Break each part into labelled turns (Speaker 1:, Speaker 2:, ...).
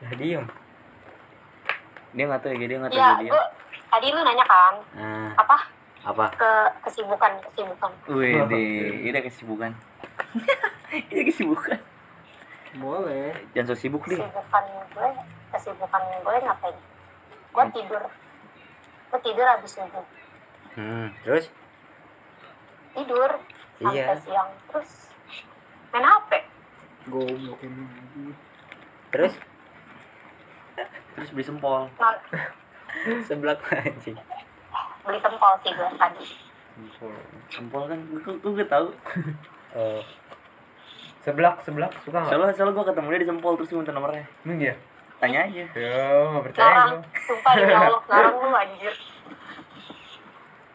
Speaker 1: Nah, diem. Dia nggak tahu ya, dia nggak tahu
Speaker 2: Iya,
Speaker 1: dia diem.
Speaker 2: gue tadi lu nanya kan
Speaker 1: Nah,
Speaker 2: apa
Speaker 1: apa?
Speaker 2: ke kesibukan kesibukan.
Speaker 1: Wih, ini ada kesibukan. ini kesibukan.
Speaker 3: boleh
Speaker 1: Jangan so sibuk deh.
Speaker 2: Kesibukan gue kesibukan gue ngapain? Gue tidur. Gue tidur habis subuh.
Speaker 1: Hmm, terus?
Speaker 2: Tidur sampai
Speaker 1: Iya.
Speaker 2: siang terus main HP.
Speaker 3: goblok ini lagi.
Speaker 1: Terus? Terus beli sempol
Speaker 2: Non,
Speaker 1: sebelah anjing.
Speaker 2: beli tempol sih gue tadi.
Speaker 1: Sempol kan gue gue, gue tahu.
Speaker 4: Oh. Seblak, seblak suka nggak? ya?
Speaker 1: Soalnya soalnya gue ketemu dia di sempol terus gue minta nomornya.
Speaker 4: Emang dia?
Speaker 1: Tanya aja.
Speaker 4: Yo, nggak percaya
Speaker 1: Iya,
Speaker 2: Larang,
Speaker 4: gue.
Speaker 2: sumpah di Allah, larang lu anjir.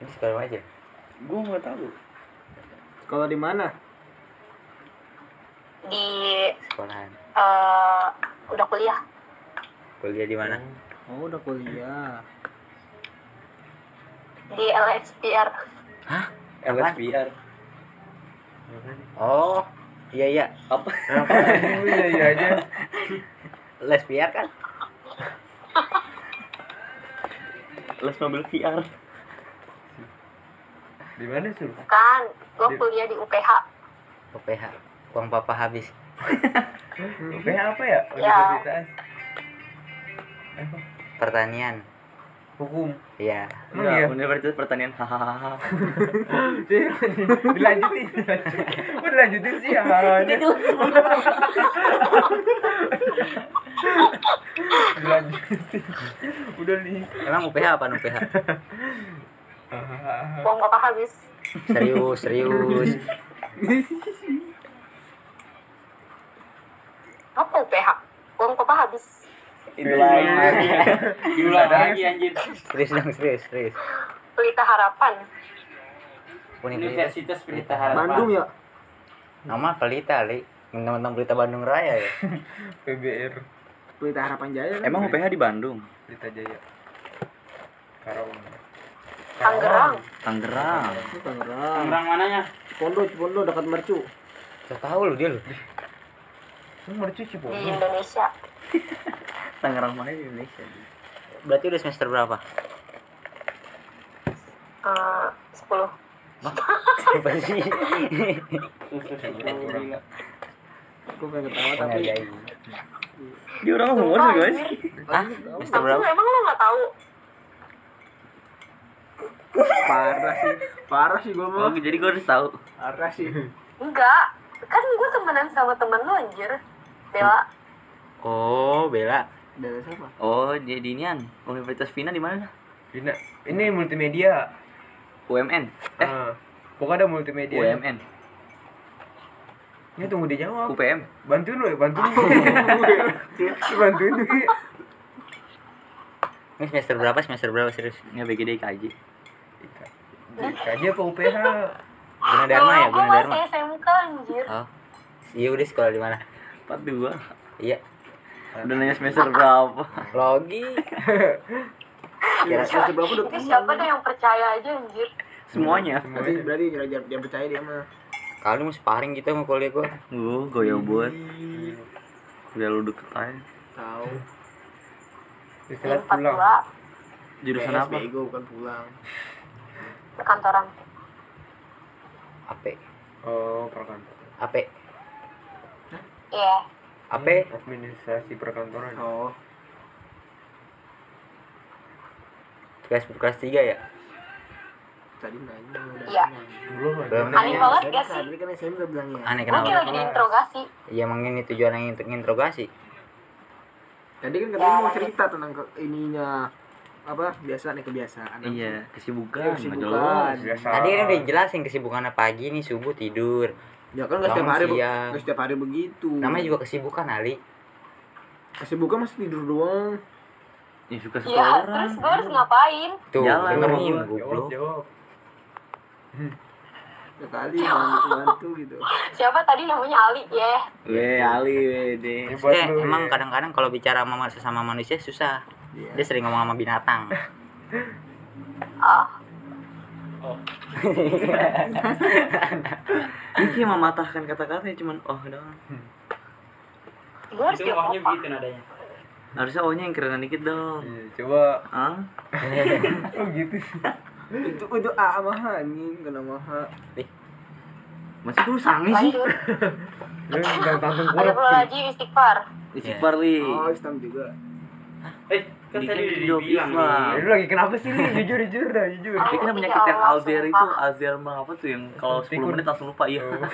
Speaker 4: Ini sekarang aja.
Speaker 1: Gue nggak tahu.
Speaker 3: sekolah di mana
Speaker 2: Di
Speaker 1: Sekolahan.
Speaker 2: eh, udah kuliah.
Speaker 1: Kuliah di mana?
Speaker 3: oh udah kuliah
Speaker 2: di LSPR
Speaker 1: Hah? LSPR. Oh, iya iya. Apa?
Speaker 4: Apa? Iya iya aja.
Speaker 1: Les VR kan? Les mobil VR.
Speaker 4: Di mana sih? lu?
Speaker 2: kan lo kuliah di UPH
Speaker 1: PPH. Oh, Uang papa habis.
Speaker 3: Hmm.
Speaker 4: Oke, apa ya? Universitas. Apa?
Speaker 1: Pertanian.
Speaker 4: Hukum.
Speaker 1: Iya.
Speaker 4: Emang iya?
Speaker 1: Universitas pertanian. Hahaha.
Speaker 4: dilanjutin Kok dilanjutin sih ya dilanjutin udah nih
Speaker 1: Emang UPH apa UPH?
Speaker 2: uang bapak habis
Speaker 1: Serius, serius.
Speaker 2: apa UPH uang bapak habis
Speaker 1: Itu lagi.
Speaker 4: Diulang lagi, ya.
Speaker 1: anjir. Serius dong, serius, serius.
Speaker 2: pelita harapan
Speaker 1: Universitas Pelita
Speaker 3: Bandung ya
Speaker 1: Nama Pelita, Li. Teman-teman Pelita Bandung Raya ya.
Speaker 4: PBR
Speaker 3: Pelita Harapan Jaya kan?
Speaker 1: Emang UPH di Bandung?
Speaker 4: Pelita Jaya Karawang
Speaker 2: Tangerang
Speaker 1: Tangerang.
Speaker 3: Itu Tangerang. Cipondo, Cipondo dekat Mercu.
Speaker 1: Gak tahu lu dia lu.
Speaker 4: lu mercu
Speaker 1: Oh,
Speaker 2: di
Speaker 4: Cipondo
Speaker 2: Indonesia
Speaker 1: Tangerang mana di Indonesia? Berarti udah semester berapa?
Speaker 2: eh, 10
Speaker 1: Apa sih?
Speaker 3: Gue pengen ketawa tapi
Speaker 1: iya. Dia orang
Speaker 2: humor sih, guys.
Speaker 1: Hah? Semester
Speaker 2: tapi
Speaker 1: berapa?
Speaker 2: emang lo nggak tahu
Speaker 3: parah sih. Parah sih gue
Speaker 1: Oh,
Speaker 3: mah.
Speaker 1: jadi gue harus tahu.
Speaker 3: Parah sih.
Speaker 2: enggak kan gue temenan sama temen lo anjir Bella
Speaker 1: Oh, Bella.
Speaker 3: Dari siapa?
Speaker 1: Oh, dia di Nian. Universitas Vina di mana?
Speaker 4: Vina ini multimedia
Speaker 1: UMN. Eh,
Speaker 4: Ah. pokoknya ada
Speaker 1: Oh,
Speaker 4: multimedia
Speaker 1: UMN.
Speaker 4: ini tunggu dia jawab
Speaker 1: UPM.
Speaker 4: bantuin lu ya bantuin lu bantuin lu Ki.
Speaker 1: Ini semester berapa? Semester berapa serius? Ini BGD IKJ.
Speaker 4: KJ apa UPH
Speaker 1: Guna Dharma ya,
Speaker 2: gue
Speaker 1: Guna Dharma.
Speaker 2: masih SMK anjir
Speaker 1: Oh. Iya, udah sekolah di mana? 42. Iya. Udah nanya semester berapa? Logi.
Speaker 3: Kira kira berapa udah
Speaker 2: itu
Speaker 3: temen?
Speaker 2: siapa tuh yang percaya aja anjir
Speaker 1: Semuanya.
Speaker 3: Berarti berarti kira kira dia percaya dia mah.
Speaker 1: Kali mau sparring gitu sama kuliah gua. Gua goyo buat. Udah lu deket aja.
Speaker 3: Tahu.
Speaker 4: Istirahat
Speaker 2: empat
Speaker 4: pulang
Speaker 2: dua
Speaker 1: Jurusan
Speaker 3: PS
Speaker 1: apa?
Speaker 3: Bego bukan pulang.
Speaker 2: perkantoran
Speaker 1: AP.
Speaker 4: oh perkantoran
Speaker 1: AP.
Speaker 2: iya
Speaker 1: AP.
Speaker 4: administrasi perkantoran
Speaker 3: Oh.
Speaker 1: Tugas kelas 3 ya?
Speaker 3: Tadi nanya udah.
Speaker 2: Iya.
Speaker 3: nanya.
Speaker 4: belum
Speaker 1: Belum
Speaker 4: ada
Speaker 1: nanya.
Speaker 2: aneh banget
Speaker 3: Tadi
Speaker 2: gak
Speaker 3: kan-
Speaker 2: sih
Speaker 3: Tadi kan saya udah bilang ya.
Speaker 1: Aneh
Speaker 2: gue
Speaker 1: kenapa?
Speaker 2: lagi diinterogasi
Speaker 1: Iya emang ini tujuan yang untuk interogasi.
Speaker 3: Tadi kan katanya mau
Speaker 2: Ya,
Speaker 3: cerita tentang ke, ininya apa biasa nih kebiasaan
Speaker 1: Iya, kesibukan,
Speaker 3: Kesibukan.
Speaker 4: biasa
Speaker 1: Tadi kan udah jelasin kesibukannya pagi nih subuh tidur.
Speaker 3: ya kan nggak setiap
Speaker 1: Bangun
Speaker 3: hari bu-
Speaker 1: siang.
Speaker 3: nggak setiap hari begitu
Speaker 1: Namanya juga kesibukan Ali.
Speaker 3: masih buka masih tidur doang
Speaker 1: Ya suka
Speaker 2: iya terus gue harus ngapain
Speaker 1: Tuh,
Speaker 4: Jalan,
Speaker 1: dengerin
Speaker 4: jawab, jawab,
Speaker 1: goblok.
Speaker 4: jawab.
Speaker 3: ya kali bantu bantu gitu
Speaker 2: siapa tadi namanya Ali ya
Speaker 1: Weh Ali weh deh.
Speaker 4: Ini buat lu,
Speaker 1: emang
Speaker 4: ya.
Speaker 1: kadang-kadang kalau bicara sama manusia sama manusia susah.
Speaker 3: Iya.
Speaker 1: Dia sering ngomong sama binatang.
Speaker 2: ah
Speaker 1: Ini cuma ya, mematahkan kata-kata cuman oh doang.
Speaker 2: gue harus diomong
Speaker 5: nadanya
Speaker 1: Harusnya O nya yang kerenan dikit dong.
Speaker 4: Iya, coba
Speaker 1: Ah?
Speaker 4: oh gitu sih
Speaker 3: itu itu A sama H anjing kena sama H
Speaker 1: Masih tuh sangi sih.
Speaker 2: lanjut
Speaker 4: lu nggak tanggung
Speaker 2: ada
Speaker 4: kurang
Speaker 2: perlu lagi istighfar
Speaker 1: Iya, Istighfar li.
Speaker 3: oh Islam juga
Speaker 5: Eh, kan
Speaker 1: Dikit
Speaker 5: tadi udah
Speaker 1: hidup
Speaker 5: dibilang
Speaker 1: Islam.
Speaker 5: nih.
Speaker 4: lu lagi kenapa sih nih jujur jujur dah jujur
Speaker 1: Dia kena
Speaker 2: Oh,
Speaker 1: penyakit
Speaker 2: iya
Speaker 1: yang
Speaker 2: Allah,
Speaker 1: kan Alzheimer itu
Speaker 2: sumpah.
Speaker 1: Alzheimer apa tuh yang kalau 10
Speaker 4: Pikun.
Speaker 1: menit langsung lupa iya.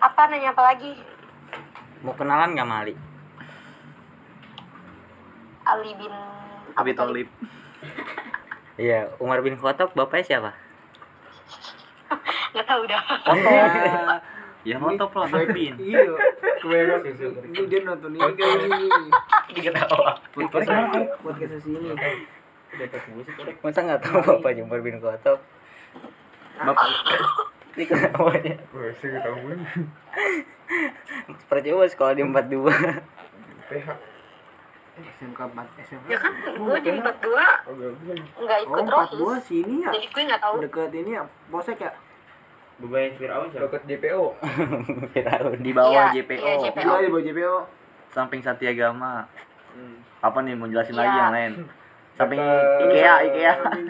Speaker 2: apa nanya apa lagi
Speaker 6: Mau kenalan gak Mali?
Speaker 2: Ali bin
Speaker 1: Tapi
Speaker 2: Abi
Speaker 1: tolip.
Speaker 2: Thalib.
Speaker 6: Iya, Umar bin Khattab bapaknya siapa?
Speaker 2: nggak tahu dah
Speaker 1: Ya mantap lah tapi.
Speaker 3: iya kebanyakan ini dia nonton ini kayak ini podcast podcast sini
Speaker 6: Masa gak tahu bapaknya Umar bin Khattab?
Speaker 1: Bapak
Speaker 6: Ini kenapa ya?
Speaker 4: Wah, sih gak tahu gue.
Speaker 6: Percuma sekolah di 42
Speaker 4: PH
Speaker 3: SMK 4 SMK
Speaker 2: ya kan gue di empat dua
Speaker 4: oh gak gue lagi
Speaker 2: nggak
Speaker 3: oh
Speaker 2: ikut
Speaker 3: empat
Speaker 2: rohis
Speaker 3: dua sini ya
Speaker 2: jadi gue nggak tahu
Speaker 3: dekat ini ya posek ya
Speaker 5: Beban Firaun siapa?
Speaker 4: Deket DPO
Speaker 6: Firaun
Speaker 1: di bawah
Speaker 2: Iya,
Speaker 4: E.
Speaker 1: JPO.
Speaker 2: iya, JPO.
Speaker 3: dua di bawah JPO
Speaker 1: Samping Satiagama.
Speaker 4: Hmm.
Speaker 1: Apa nih mau jelasin
Speaker 2: Iya.
Speaker 1: lagi yang lain? Samping
Speaker 4: Deket-
Speaker 1: IKEA, IKEA.
Speaker 6: Bukan ya.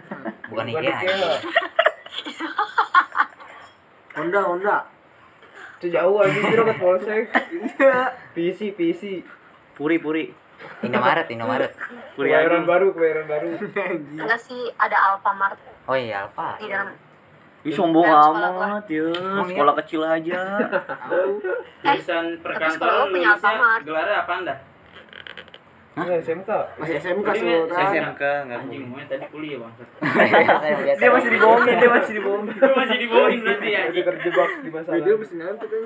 Speaker 4: Bukan
Speaker 6: IKEA.
Speaker 4: IKEA.
Speaker 3: Honda Honda
Speaker 4: Itu jauh aja sih deket polsek PC PC
Speaker 1: Puri, puri.
Speaker 6: Indomaret, Indomaret
Speaker 1: Puri
Speaker 4: Kebayoran
Speaker 1: Agung.
Speaker 4: baru kebayaran baru
Speaker 2: nggak sih ada Alfamart
Speaker 6: Oh iya, Alfa
Speaker 2: di dalam
Speaker 1: Ih sombong
Speaker 2: Sekolah gua.
Speaker 1: amat ya. Sekolah kecil aja.
Speaker 5: Jurusan
Speaker 2: Eh, sekolah
Speaker 5: perkantoran
Speaker 2: punya Alfamart.
Speaker 5: Indonesia gelarnya apa anda?
Speaker 4: Nah, SMK
Speaker 3: masih SMK
Speaker 5: Tadi dia
Speaker 3: Sultan
Speaker 5: SMK, nggak Anjing, mau tadi kuliah bang.
Speaker 6: Iya, Dia masih
Speaker 1: dibohongin, dia masih dibohongin.
Speaker 5: Lu masih
Speaker 1: Oh,
Speaker 5: dibohongin
Speaker 1: iya,
Speaker 5: berarti ya.
Speaker 4: Masih
Speaker 5: anjing.
Speaker 4: terjebak di masalah
Speaker 3: video mesti nanti kan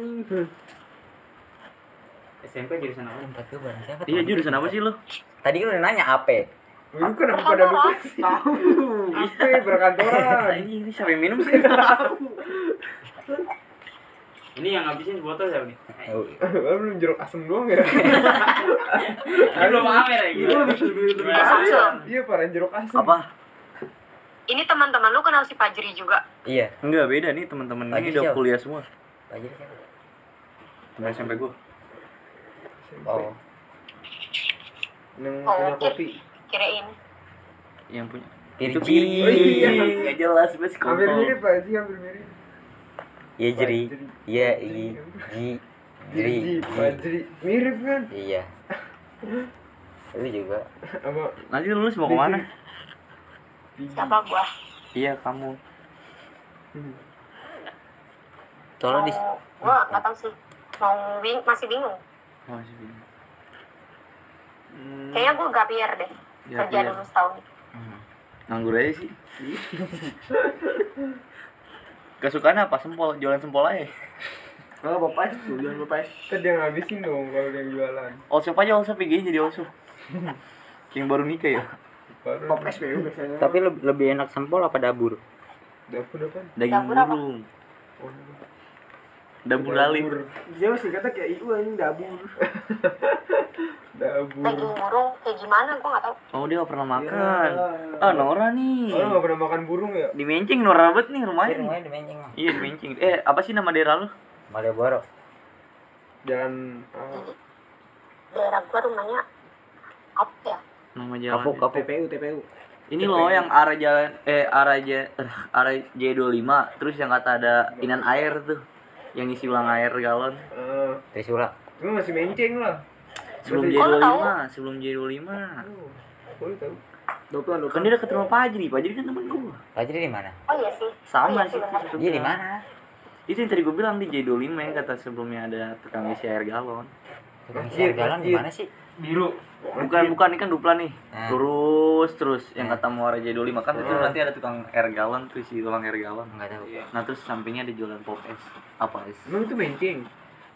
Speaker 5: SMK jurusan apa?
Speaker 6: siapa
Speaker 1: Iya
Speaker 6: tuh?
Speaker 1: jurusan apa sih lu?
Speaker 6: Tadi kan udah nanya apa?
Speaker 4: Lu kenapa pada lupa sih?
Speaker 3: tahu
Speaker 4: Apa berkantoran
Speaker 1: Ini ini siapa yang minum sih?
Speaker 5: Ini yang ngabisin botol siapa nih?
Speaker 6: Oh, iya.
Speaker 4: Lu belum jeruk asem doang ya?
Speaker 5: Ini belum amer ya gitu. Gimana?
Speaker 2: Samsul.
Speaker 4: Iya parah jeruk asem
Speaker 1: Apa?
Speaker 2: ini teman-teman lu kenal si Fajri juga
Speaker 6: Iya
Speaker 1: Enggak beda nih teman-teman ini
Speaker 6: Lagi
Speaker 1: udah
Speaker 6: siapa?
Speaker 1: kuliah semua.
Speaker 6: Fajri siapa?
Speaker 1: Temen SMP gua.
Speaker 6: Oh
Speaker 4: Yang
Speaker 2: Oh,
Speaker 4: punya
Speaker 2: oke.
Speaker 4: kopi
Speaker 2: kirain
Speaker 1: Yang punya. Itu
Speaker 6: Pirji
Speaker 1: Pirji.
Speaker 4: iya.
Speaker 1: Nggak jelas mas
Speaker 4: Hampir mirip
Speaker 1: kontol.
Speaker 4: Pak Haji, hampir mirip
Speaker 6: Iya, Jeri
Speaker 4: Fajri.
Speaker 6: Iya, Ji Ji Jeri
Speaker 4: Haji,
Speaker 6: Ji.
Speaker 4: Pak Haji. Mirip kan?
Speaker 6: Iya Lu juga
Speaker 4: Apa?
Speaker 1: Nanti lulus mau kemana?
Speaker 2: siapa gua
Speaker 1: Iya kamu.
Speaker 6: Tolong di
Speaker 2: mau gua nggak tahu sih mau bing masih bingung
Speaker 1: Oh, masih bingung.
Speaker 2: kayaknya gua gapier deh
Speaker 1: Gap year.
Speaker 2: kerja dulu setahun
Speaker 1: Nganggur aja sih. Kesukaan apa? Sempol, jualan sempol aja.
Speaker 3: kalau bapak itu jangan
Speaker 4: Ntar
Speaker 3: bapak
Speaker 4: kan dia ngabisin dong kalau dia jualan
Speaker 1: All shop aja, all shop IG jadi all shop. Yang baru nikah ya?
Speaker 4: Baru
Speaker 3: pop SPU biasanya
Speaker 6: Tapi le- lebih enak sempol apa dabur?
Speaker 4: dapur depan
Speaker 1: Daging
Speaker 2: Dapur apa?
Speaker 1: burung. Dapur alim.
Speaker 3: dia masih kata kayak iu anjing dabur
Speaker 4: Dapur
Speaker 2: daging burung kayak gimana gua nggak tahu
Speaker 1: Oh dia gak pernah
Speaker 2: Iya.
Speaker 1: makan. Ah Nora nih.
Speaker 4: Oh, lu gak pernah makan burung ya?
Speaker 1: Di Mencing Nora banget nih rumahnya. nih.
Speaker 6: Rumahnya di Menceng Bang.
Speaker 1: Iya di Mencing. Eh apa sih nama daerah lu?
Speaker 6: Malioboro
Speaker 4: Jalan ah,
Speaker 2: daerah gua rumahnya apa ya
Speaker 1: Nama jalan.
Speaker 6: Kapuk, kapuk
Speaker 3: TPU TPU
Speaker 1: Ini loh
Speaker 2: Iya.
Speaker 1: yang arah jalan eh arah J eh, arah J25 terus yang kata ada inan air tuh yang isi ulang air galon
Speaker 4: ah.
Speaker 6: Trisula
Speaker 4: Cuma masih menceng lah
Speaker 1: sebelum
Speaker 4: Berarti-
Speaker 1: J25
Speaker 2: tahu.
Speaker 1: sebelum J25
Speaker 4: Oh, oh, lu tahu.
Speaker 3: doplan
Speaker 1: kan
Speaker 3: doplan
Speaker 1: dia deket rumah Pajri Pajri kan temen gua
Speaker 6: Fajri di mana?
Speaker 2: oh iya sih
Speaker 1: sama
Speaker 2: Oh iya
Speaker 1: sih
Speaker 2: benar.
Speaker 1: itu
Speaker 6: Dia di mana?
Speaker 1: itu yang tadi gua bilang di J25 ya kata sebelumnya ada tukang isi air galon
Speaker 6: Tukang
Speaker 4: Masjid,
Speaker 6: isi jalan di
Speaker 4: masjid.
Speaker 6: mana sih?
Speaker 4: Biru
Speaker 1: bukan bukan ini kan dupla nih
Speaker 6: Hmm.
Speaker 1: lurus terus yang kata mau arah J25 kan itu nanti ada tukang air galon tuh isi ulang air galon
Speaker 6: Enggak tahu.
Speaker 1: nah terus sampingnya ada jualan pop es apa es
Speaker 4: Emang itu menceng?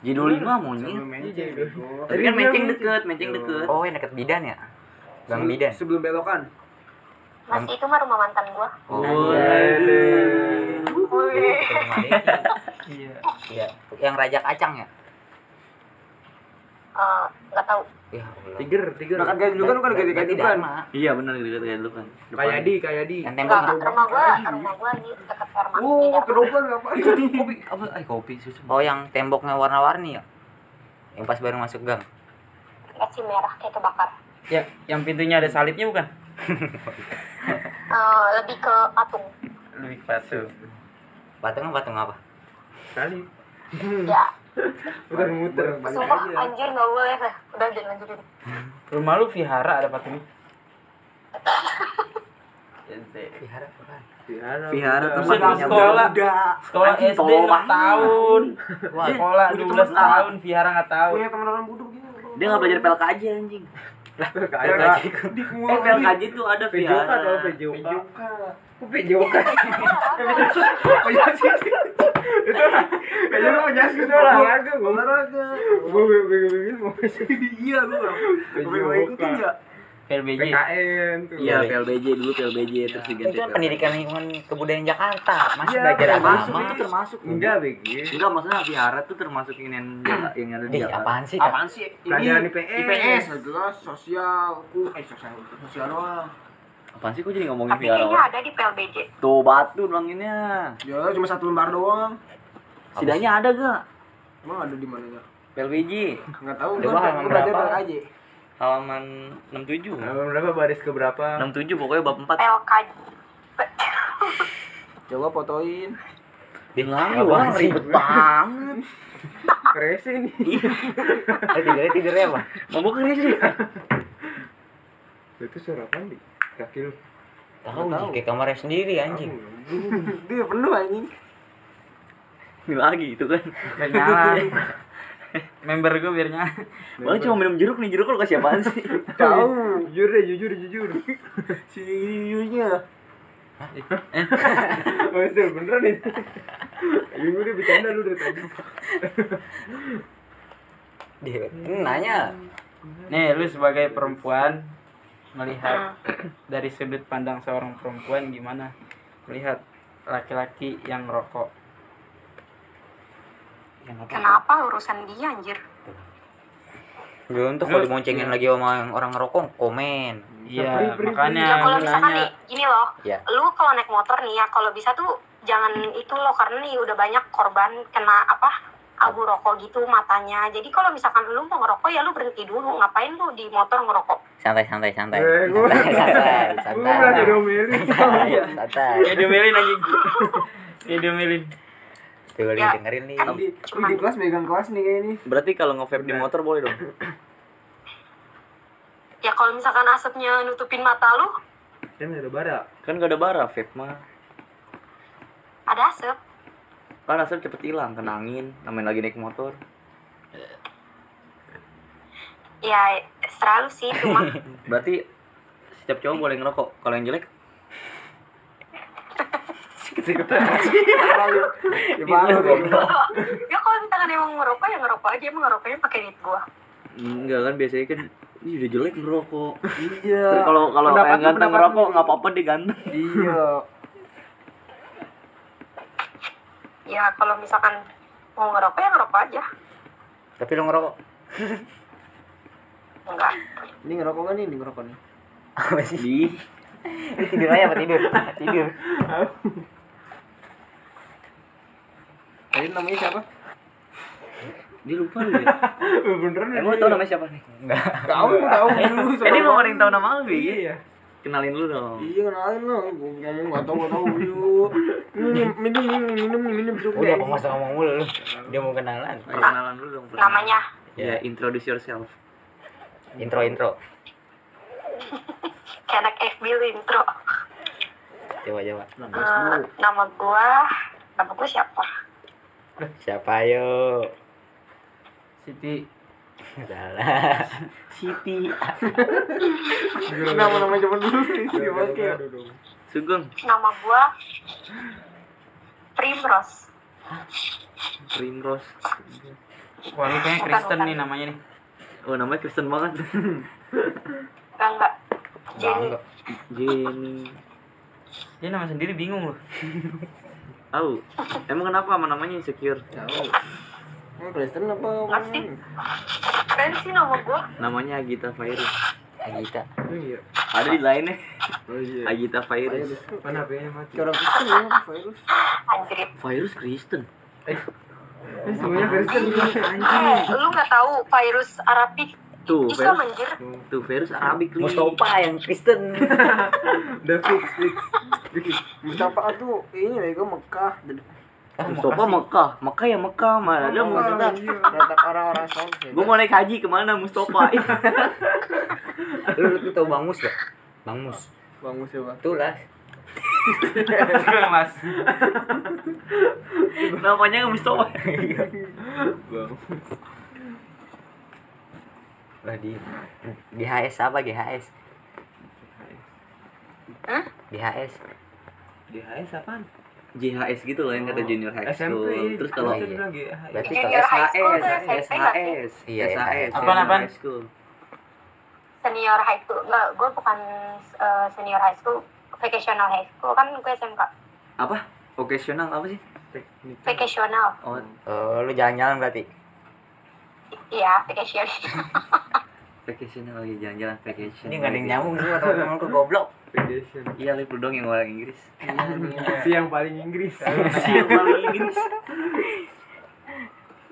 Speaker 1: J25 maunya
Speaker 4: Menceng bego.
Speaker 1: Tapi
Speaker 6: Iya,
Speaker 1: kan mencing deket, mencing deket.
Speaker 6: Oh, yang dekat bidan ya? Gang bidan.
Speaker 3: sebelum belokan
Speaker 2: masih itu mah rumah mantan gua
Speaker 6: Oh,
Speaker 2: Wih.
Speaker 4: Iya
Speaker 6: iya. Yang rajak acang ya?
Speaker 2: Eh, nggak tahu
Speaker 6: Ya Allah.
Speaker 4: Tiger, tiger
Speaker 3: Makan gaji dulu kan bukan gaji gaji kan
Speaker 1: Iya benar gitu kayak dulu kan. Depan.
Speaker 4: Kayadi, Kayadi
Speaker 6: Yang
Speaker 2: nggak
Speaker 6: tembok.
Speaker 2: rumah gua rumah gua di dekat Hermas
Speaker 3: oh kedoplan apa
Speaker 1: kopi apa? Eh kopi susu.
Speaker 6: Oh, yang temboknya warna-warni ya? yang pas baru masuk gang
Speaker 2: Eci merah kayak kebakar.
Speaker 5: Ya, yang pintunya ada salibnya bukan?
Speaker 2: Eh, lebih ke patung.
Speaker 5: Lebih patuh.
Speaker 6: patung patung apa
Speaker 4: Kali.
Speaker 2: Ya,
Speaker 4: Udah muter.
Speaker 3: Balik
Speaker 2: sumpah
Speaker 3: aja.
Speaker 2: anjir nggak boleh lah. Udah jangan lanjutin.
Speaker 5: Rumah lu vihara ada patungnya.
Speaker 6: Vihara apaan?
Speaker 1: Vihara
Speaker 5: Terus
Speaker 1: tempat
Speaker 5: di
Speaker 1: punya
Speaker 5: sekolah.
Speaker 3: Udah.
Speaker 5: Sekolah
Speaker 1: Anjing,
Speaker 5: SD
Speaker 1: tolol
Speaker 5: 6
Speaker 1: banget.
Speaker 5: tahun.
Speaker 6: Wah,
Speaker 5: Sekolah
Speaker 3: punya
Speaker 5: 12
Speaker 3: teman.
Speaker 5: tahun, vihara nggak tahu.
Speaker 3: Punya teman orang bodoh gitu.
Speaker 1: Dia nggak belajar PLK aja anjing.
Speaker 4: Kayak
Speaker 3: Di gua.
Speaker 1: Eh PLK aja tuh ada
Speaker 4: PJK
Speaker 1: Vihara.
Speaker 4: tau PJK.
Speaker 6: aku pejokan.
Speaker 4: Kayaknya lu menjelaskan itu olahraga gua. Olahraga. Gua bingung-bingungin mau
Speaker 3: Iya lu Bang. Tapi mau ikutin ya?
Speaker 5: PLBJ.
Speaker 4: PKN tuh.
Speaker 1: Iya PLBJ dulu PLBJ terus diganti.
Speaker 6: Itu kan
Speaker 1: PLK.
Speaker 6: pendidikan lingkungan kebudayaan Jakarta. Masih
Speaker 4: Gitu Iya,
Speaker 6: belajar
Speaker 1: Termasuk
Speaker 6: agama.
Speaker 1: itu termasuk.
Speaker 4: Enggak, Begi.
Speaker 1: Enggak maksudnya vihara tuh termasuk ini yang yang ada di
Speaker 4: Iya.
Speaker 6: Dih,
Speaker 1: Jakarta.
Speaker 6: apaan sih? Kak?
Speaker 3: Apaan sih? Ini
Speaker 4: Pelajaran IPS.
Speaker 3: IPS adalah sosial. Ku eh sosial sosial doang.
Speaker 1: Apaan sih kok jadi ngomongin
Speaker 2: Tapi
Speaker 1: vihara
Speaker 2: kayaknya
Speaker 1: orang?
Speaker 2: ada di PLBJ.
Speaker 1: Tuh batu nulanginnya.
Speaker 3: Ya cuma satu lembar doang.
Speaker 1: Setidaknya ada gak?
Speaker 3: Emang ada di mananya?
Speaker 1: PLBJ
Speaker 3: Enggak tahu.
Speaker 6: Udah,
Speaker 3: Gua
Speaker 6: gua
Speaker 3: gua
Speaker 6: halaman
Speaker 3: belajar
Speaker 6: berapa?
Speaker 3: bareng aja.
Speaker 1: halaman 67.
Speaker 4: Nah, berapa baris ke berapa?
Speaker 1: 67 pokoknya bab 4.
Speaker 2: PLK.
Speaker 3: Coba fotoin.
Speaker 1: Bilangin
Speaker 6: Apaan
Speaker 1: wah
Speaker 6: sih?
Speaker 1: ribet banget. Iya.
Speaker 4: Rese nih.
Speaker 6: Eh, tidurnya tidurnya apa?
Speaker 1: Mau buka ini sih?
Speaker 4: Itu suara apa nih? Kaki lu.
Speaker 6: Tahu Ji, kayak kamarnya sendiri anjing.
Speaker 3: Dia Iya, penuh anjing.
Speaker 1: Ini lagi itu kan.
Speaker 5: Biar nyala. Member gue biar nyala.
Speaker 1: Paling cuma minum jeruk nih, jeruk lu kasih apaan sih?
Speaker 4: Tahu. Jujur deh, jujur, jujur.
Speaker 1: Si yuyunya.
Speaker 4: Master, Oh, beneran nih. Ayo udah bercanda lu dari tadi.
Speaker 6: Dia Iya, nanya.
Speaker 5: Nih, lu sebagai perempuan melihat dari sudut pandang seorang perempuan gimana melihat laki-laki yang merokok?
Speaker 2: Kenapa urusan dia anjir?
Speaker 6: Gue untuk kalau dimoncengin lagi sama yang orang ngerokok, komen.
Speaker 4: Beri,
Speaker 5: Iya,
Speaker 4: beri,
Speaker 2: Ya,
Speaker 5: makanya
Speaker 2: kalau
Speaker 5: gue
Speaker 2: misalkan
Speaker 5: nanya.
Speaker 2: nih, gini loh,
Speaker 6: Ya.
Speaker 2: lu kalau naik motor nih ya, kalau bisa tuh jangan itu loh, karena nih udah banyak korban kena apa abu rokok gitu matanya. Jadi kalau misalkan lu mau ngerokok ya lu berhenti dulu, ngapain lu di motor ngerokok?
Speaker 6: Santai, santai, santai.
Speaker 4: Eh, gua-
Speaker 6: Santai, santai,
Speaker 4: Gue
Speaker 6: santai.
Speaker 4: merasa diomelin.
Speaker 6: Santai, santai.
Speaker 5: Ya Oh, diomelin anjing. Ya diomelin.
Speaker 6: Tuh,
Speaker 2: Ya.
Speaker 6: lihat dengerin nih.
Speaker 2: Tapi-
Speaker 3: Lu di kelas megang kelas nih kayak ini.
Speaker 1: Berarti kalau nge-vape di motor boleh dong?
Speaker 2: Ya kalau misalkan asapnya nutupin mata lu,
Speaker 4: Kan ada bara.
Speaker 1: Kan gak ada bara vape mah.
Speaker 2: ada asap.
Speaker 1: Kan asap cepet hilang, kena angin, namanya lagi naik motor.
Speaker 2: Ya selalu sih, cuma
Speaker 1: Berarti setiap cowok boleh ngerokok. Kalau yang jelek
Speaker 4: Ya baru deh.
Speaker 2: ya kalau misalkan emang ngerokok ya ngerokok aja, emang ngerokoknya pakai duit gua.
Speaker 1: enggak kan biasanya kan ini udah jelek ngerokok.
Speaker 3: Iya.
Speaker 1: Terus kalau kalau
Speaker 3: Pendapat
Speaker 1: yang
Speaker 3: lu,
Speaker 1: ganteng
Speaker 3: pendapat lu.
Speaker 1: ngerokok nggak apa-apa deh ganteng.
Speaker 3: Iya.
Speaker 2: Ya kalau misalkan mau ngerokok ya ngerokok aja.
Speaker 6: Tapi lu ngerokok.
Speaker 2: Enggak.
Speaker 3: Ini ngerokok kan nih, ini ngerokok nih.
Speaker 6: Apa sih?
Speaker 1: Di
Speaker 6: Tidur aja apa tidur? Tidur.
Speaker 3: Tadi namanya siapa?
Speaker 1: dia lupa lu ya.
Speaker 4: Beneran
Speaker 1: Emang lu tau namanya siapa nih?
Speaker 3: Tahu, tahu dulu.
Speaker 1: Eh, Ini mau ada yang tau nama lu ya?
Speaker 4: Iya.
Speaker 1: Kenalin lu dong.
Speaker 3: Iya kenalin lo, gue ngomong gak tau gak tau dulu. Minum, minum, minum, minum, minum cukup
Speaker 6: Udah,
Speaker 3: deh.
Speaker 6: kok nggak usah ngomong mulu lu. Dia mau kenalan.
Speaker 1: Ayo, Kenalan lu dong. perkenalan.
Speaker 2: Namanya
Speaker 1: Ya, introduce yourself.
Speaker 6: Intro, intro.
Speaker 2: kayak anak FB lu intro.
Speaker 6: Coba, coba.
Speaker 2: Eh, nama gua nama gua siapa
Speaker 6: Siapa ayo?
Speaker 5: Siti
Speaker 6: Salah.
Speaker 1: Siti.
Speaker 3: Nama nama zaman dulu sih,
Speaker 4: Iya,
Speaker 3: dipakai.
Speaker 1: Sugeng.
Speaker 2: nama gua Primrose
Speaker 1: Primrose.
Speaker 5: Wah lu kayaknya Kristen nih namanya nih
Speaker 1: Oh, namanya Kristen banget.
Speaker 2: enggak enggak Jenny
Speaker 6: Bangga.
Speaker 1: Jenny.
Speaker 5: Dia nama sendiri bingung loh
Speaker 1: Tahu. Emang kenapa sama namanya insecure?
Speaker 3: Tahu. gitu. Emang Kristen apa?
Speaker 2: Nggak sih.
Speaker 5: Hmm.
Speaker 2: keren sih nama gua
Speaker 1: Namanya Agita Virus. Oh,
Speaker 6: Agita.
Speaker 4: Iya.
Speaker 1: Ada di lainnya.
Speaker 4: Oh iya.
Speaker 1: Agita Virus.
Speaker 4: Mana HP-nya mati?
Speaker 3: Kayak orang Kristen ya, virus.
Speaker 2: anjir
Speaker 1: Virus Kristen.
Speaker 4: Eh, semuanya Kristen
Speaker 2: Eh, lu nggak tahu virus Arabic
Speaker 1: Tuh,
Speaker 2: Islam
Speaker 1: virus,
Speaker 2: anjir.
Speaker 1: tuh virus Arabik nih.
Speaker 6: Mustafa yang Kristen
Speaker 4: udah fix fix
Speaker 3: Mustafa tuh ini bego Mekah.
Speaker 1: Mustafa Mekah, Mekah ya Mekah mana ada Mustafa. iya.
Speaker 3: Datang orang-orang soleh.
Speaker 1: Gue mau naik haji kemana Mustafa?
Speaker 6: lu lu tau bangus gak bangus
Speaker 3: Bangun siapa?
Speaker 6: tuh lah
Speaker 5: mas
Speaker 1: Namanya Mustafa.
Speaker 6: Iya. lah di GHS apa GHS
Speaker 2: Hah?
Speaker 6: GHS
Speaker 4: DHS apaan?
Speaker 1: JHS gitu loh yang
Speaker 6: Oh.
Speaker 1: kata junior high school. Terus kalau
Speaker 6: Iya.
Speaker 4: ah,
Speaker 6: berarti
Speaker 2: Junior high school tuh
Speaker 1: SHS,
Speaker 2: SMP nggak sih?
Speaker 1: SHS,
Speaker 6: Iya,
Speaker 1: SHS,
Speaker 5: Apaan,
Speaker 1: junior
Speaker 5: apaan?
Speaker 1: high school.
Speaker 2: Senior high school, nggak, gue bukan eh, senior high school, vocational high school kan gue SMK,
Speaker 1: Apa? Vocational apa sih?
Speaker 2: vocational,
Speaker 1: Oh,
Speaker 6: Eh, lu jalan-jalan berarti
Speaker 2: iya vocational.
Speaker 1: vocational
Speaker 6: Iya,
Speaker 1: lagi jalan-jalan vacation.
Speaker 6: ini gak ada yang nyambung semua teman-teman ke goblok
Speaker 4: Foundation.
Speaker 1: Iya, lu dong yang orang Inggris.
Speaker 4: Si yang paling Inggris.
Speaker 1: Siapa orang Inggris?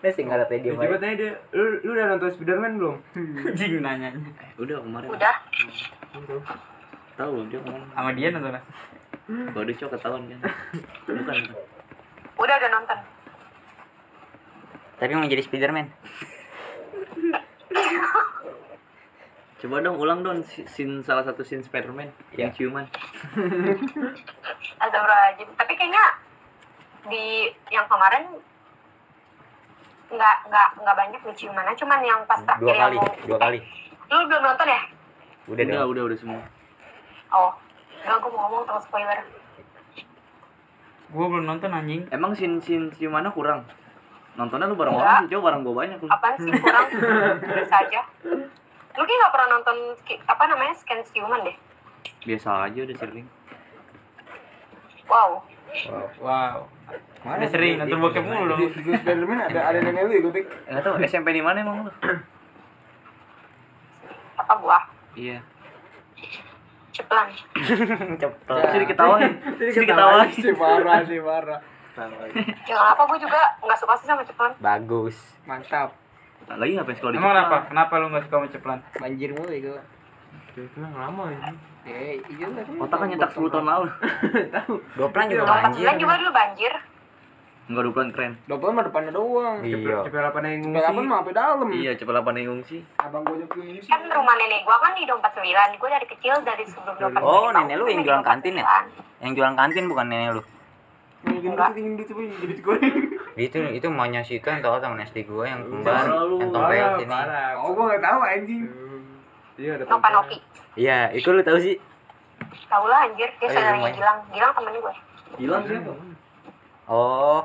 Speaker 6: lu sih gak ada dia
Speaker 4: Coba tanya dia, lu, lu udah nonton Spiderman belum?
Speaker 5: anjing nanyanya
Speaker 1: Udah kemarin
Speaker 2: Udah,
Speaker 1: tahu belum dia kemarin.
Speaker 5: sama dia nonton Mas.
Speaker 1: Baru cok ketahuan kan. Bukan.
Speaker 2: udah udah nonton.
Speaker 6: tapi mau jadi Spiderman
Speaker 1: Coba dong ulang dong sin salah satu sin Spiderman yang ciuman.
Speaker 2: Astagfirullahaladzim. Tapi kayaknya di yang kemarin nggak nggak nggak banyak nih ciumannya, cuman yang pas terakhir
Speaker 6: dua
Speaker 2: yang
Speaker 6: kali
Speaker 2: mau-
Speaker 6: dua kali
Speaker 2: Lu belum nonton ya?
Speaker 6: udah
Speaker 1: Udah,
Speaker 6: dong
Speaker 1: udah, udah semua.
Speaker 2: Oh, nggak gue mau ngomong terus spoiler.
Speaker 5: gua belum nonton anjing
Speaker 1: Emang sin sin ciumannya kurang. Nontonnya lu bareng orang sih, coba bareng gua banyak lu.
Speaker 2: Apaan sih kurang? Bisa aja. Lu kayak nggak pernah nonton ki- apa namanya scan ciuman deh.
Speaker 1: Biasa aja udah sering.
Speaker 2: Wow.
Speaker 5: wow udah sering nonton bokep
Speaker 4: Iya,
Speaker 5: mulu
Speaker 3: Di di Spiderman ada ada nenek lu ya gue pik.
Speaker 1: Enggak tahu SMP di mana emang lu?
Speaker 2: Apa gua?
Speaker 1: Iya.
Speaker 2: Ceplan.
Speaker 6: cepet
Speaker 1: Terus diketawain. Terus diketawain.
Speaker 3: Si parah, si parah.
Speaker 2: Jangan Ya, apa gue juga nggak suka sih sama ceplan.
Speaker 6: bagus
Speaker 3: Mantap.
Speaker 1: Nah, Lagi ngapain sekolah di
Speaker 5: emang kenapa kenapa lu nggak suka sama ceplan
Speaker 3: Banjir mulu bego.
Speaker 4: Spiderman lama ini.
Speaker 3: Eh, iya lah.
Speaker 1: Otak kan nyetak 10 tahun lalu.
Speaker 6: doplan juga
Speaker 2: Kalau
Speaker 6: Iya, banjir
Speaker 2: Ceplan juga dulu banjir.
Speaker 1: Enggak dupelan keren.
Speaker 3: Dompet mah depannya doang.
Speaker 6: iya
Speaker 4: Cepet apa yang ngungsi?
Speaker 3: Kapan mah sampai dalam.
Speaker 1: Iya, cepat apa nengung sih?
Speaker 3: Abang gue juga ini sih.
Speaker 2: kan rumah nenek gua kan di dompet sembilan gue dari kecil dari sebelum dompet
Speaker 6: oh
Speaker 2: sembilan
Speaker 6: nenek lu
Speaker 2: tahun,
Speaker 6: yang
Speaker 2: di
Speaker 6: jualan
Speaker 2: Dompet
Speaker 6: kantin ya
Speaker 2: Sembilan.
Speaker 6: yang jualan kantin bukan nenek lu
Speaker 3: Yang gendut itu gendut coba jadi goreng.
Speaker 6: itu Gitu,
Speaker 1: Hmm.
Speaker 6: itu maunya si itu yang tau temen SD gue yang kembar
Speaker 1: parah lu.
Speaker 6: yang tompel
Speaker 4: Parah,
Speaker 6: sini
Speaker 4: parah.
Speaker 3: Oh, gue enggak tahu anjing.
Speaker 4: Iya, ada
Speaker 2: Nopa Nopi
Speaker 6: iya itu lu tau sih
Speaker 2: tau lah anjir dia
Speaker 6: Oh, iya,
Speaker 2: saudaranya
Speaker 6: rumahnya.
Speaker 2: Gilang Gilang temennya gue
Speaker 1: Hilang siapa?
Speaker 6: oh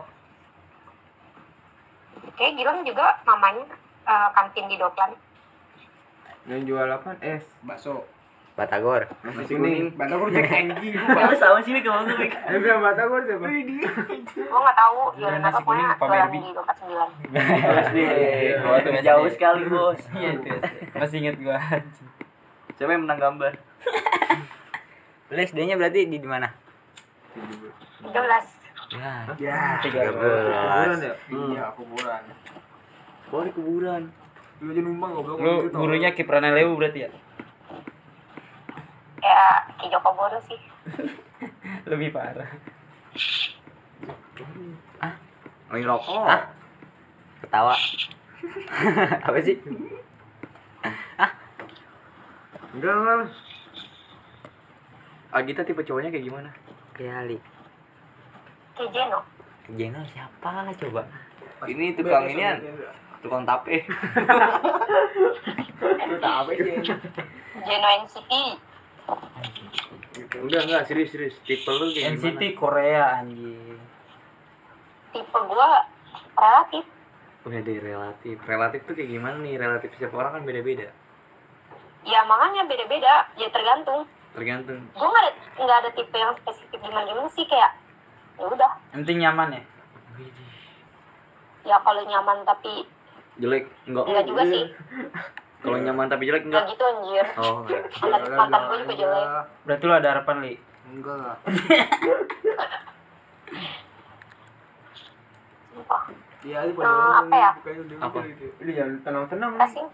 Speaker 2: kayak Gilang juga mamanya eh, kantin di Doplan
Speaker 4: Yang jual apa? Es.
Speaker 3: Bakso.
Speaker 6: Batagor
Speaker 4: Nasi
Speaker 3: Kuning.
Speaker 4: kuning.
Speaker 3: Bakso kurang anjing.
Speaker 1: Lu sama sini kemana tuh, Mik?
Speaker 4: Eh, bilang mata gue siapa?
Speaker 2: gue nggak tahu jualan apa
Speaker 5: nasi
Speaker 2: pokoknya
Speaker 5: kuning, Pak
Speaker 2: jualan
Speaker 5: Berbi.
Speaker 2: di dompet sembilan
Speaker 1: Iya,
Speaker 5: Oh, tuh SD.
Speaker 1: Jauh sekali, Bos.
Speaker 5: iya itu masih inget gua anjing
Speaker 1: Siapa yang menang gambar?
Speaker 6: lu SD nya berarti di di mana
Speaker 2: tiga belas
Speaker 6: ya
Speaker 3: Ya.
Speaker 6: tiga
Speaker 4: Bulan
Speaker 6: belas
Speaker 4: ya?
Speaker 3: Iya, kuburan.
Speaker 1: Gua di kuburan.
Speaker 3: Lu aja numpang gitu. goblok.
Speaker 5: lu gurunya Kiprana Lewu berarti ya
Speaker 2: ya kayak Joko Bodo sih
Speaker 5: lebih parah
Speaker 1: Lagi
Speaker 3: Oh.
Speaker 1: rokok.
Speaker 6: ketawa apa sih
Speaker 4: Enggak lah.
Speaker 1: Agita tipe cowoknya kayak gimana?
Speaker 6: kali
Speaker 2: kayak Jeno
Speaker 6: Jeno siapa coba
Speaker 1: Ini tukang inian, tukang tape.
Speaker 2: Jeno NCT
Speaker 1: Udah enggak serius serius. Tipe lu kayak gimana?
Speaker 5: NCT Korea anjing
Speaker 2: tipe gue relatif
Speaker 1: Udah deh relatif. Relatif tuh kayak gimana nih? Relatif setiap orang kan beda-beda.
Speaker 2: ya makanya beda-beda ya tergantung
Speaker 1: Tergantung.
Speaker 2: gue nggak ada nggak ada tipe yang spesifik gimana gimana sih kayak ya udah
Speaker 5: yang penting nyaman ya
Speaker 2: ya kalau nyaman tapi
Speaker 1: Jelek enggak?
Speaker 2: enggak juga sih
Speaker 1: Kalau nyaman tapi jelek
Speaker 2: enggak
Speaker 1: enggak?
Speaker 2: gitu anjir
Speaker 1: Oh, enggak.
Speaker 3: Ya
Speaker 2: mantan mantan gue juga jelek
Speaker 5: berarti lu ada harapan li
Speaker 3: Enggak lah.
Speaker 2: sumpah
Speaker 3: Iya, Ali pada
Speaker 2: Eh, apa ya?
Speaker 3: Bukannya udah
Speaker 5: Apa?
Speaker 3: gitu.
Speaker 4: Udah jangan tenang-tenang.
Speaker 2: Enggak sih.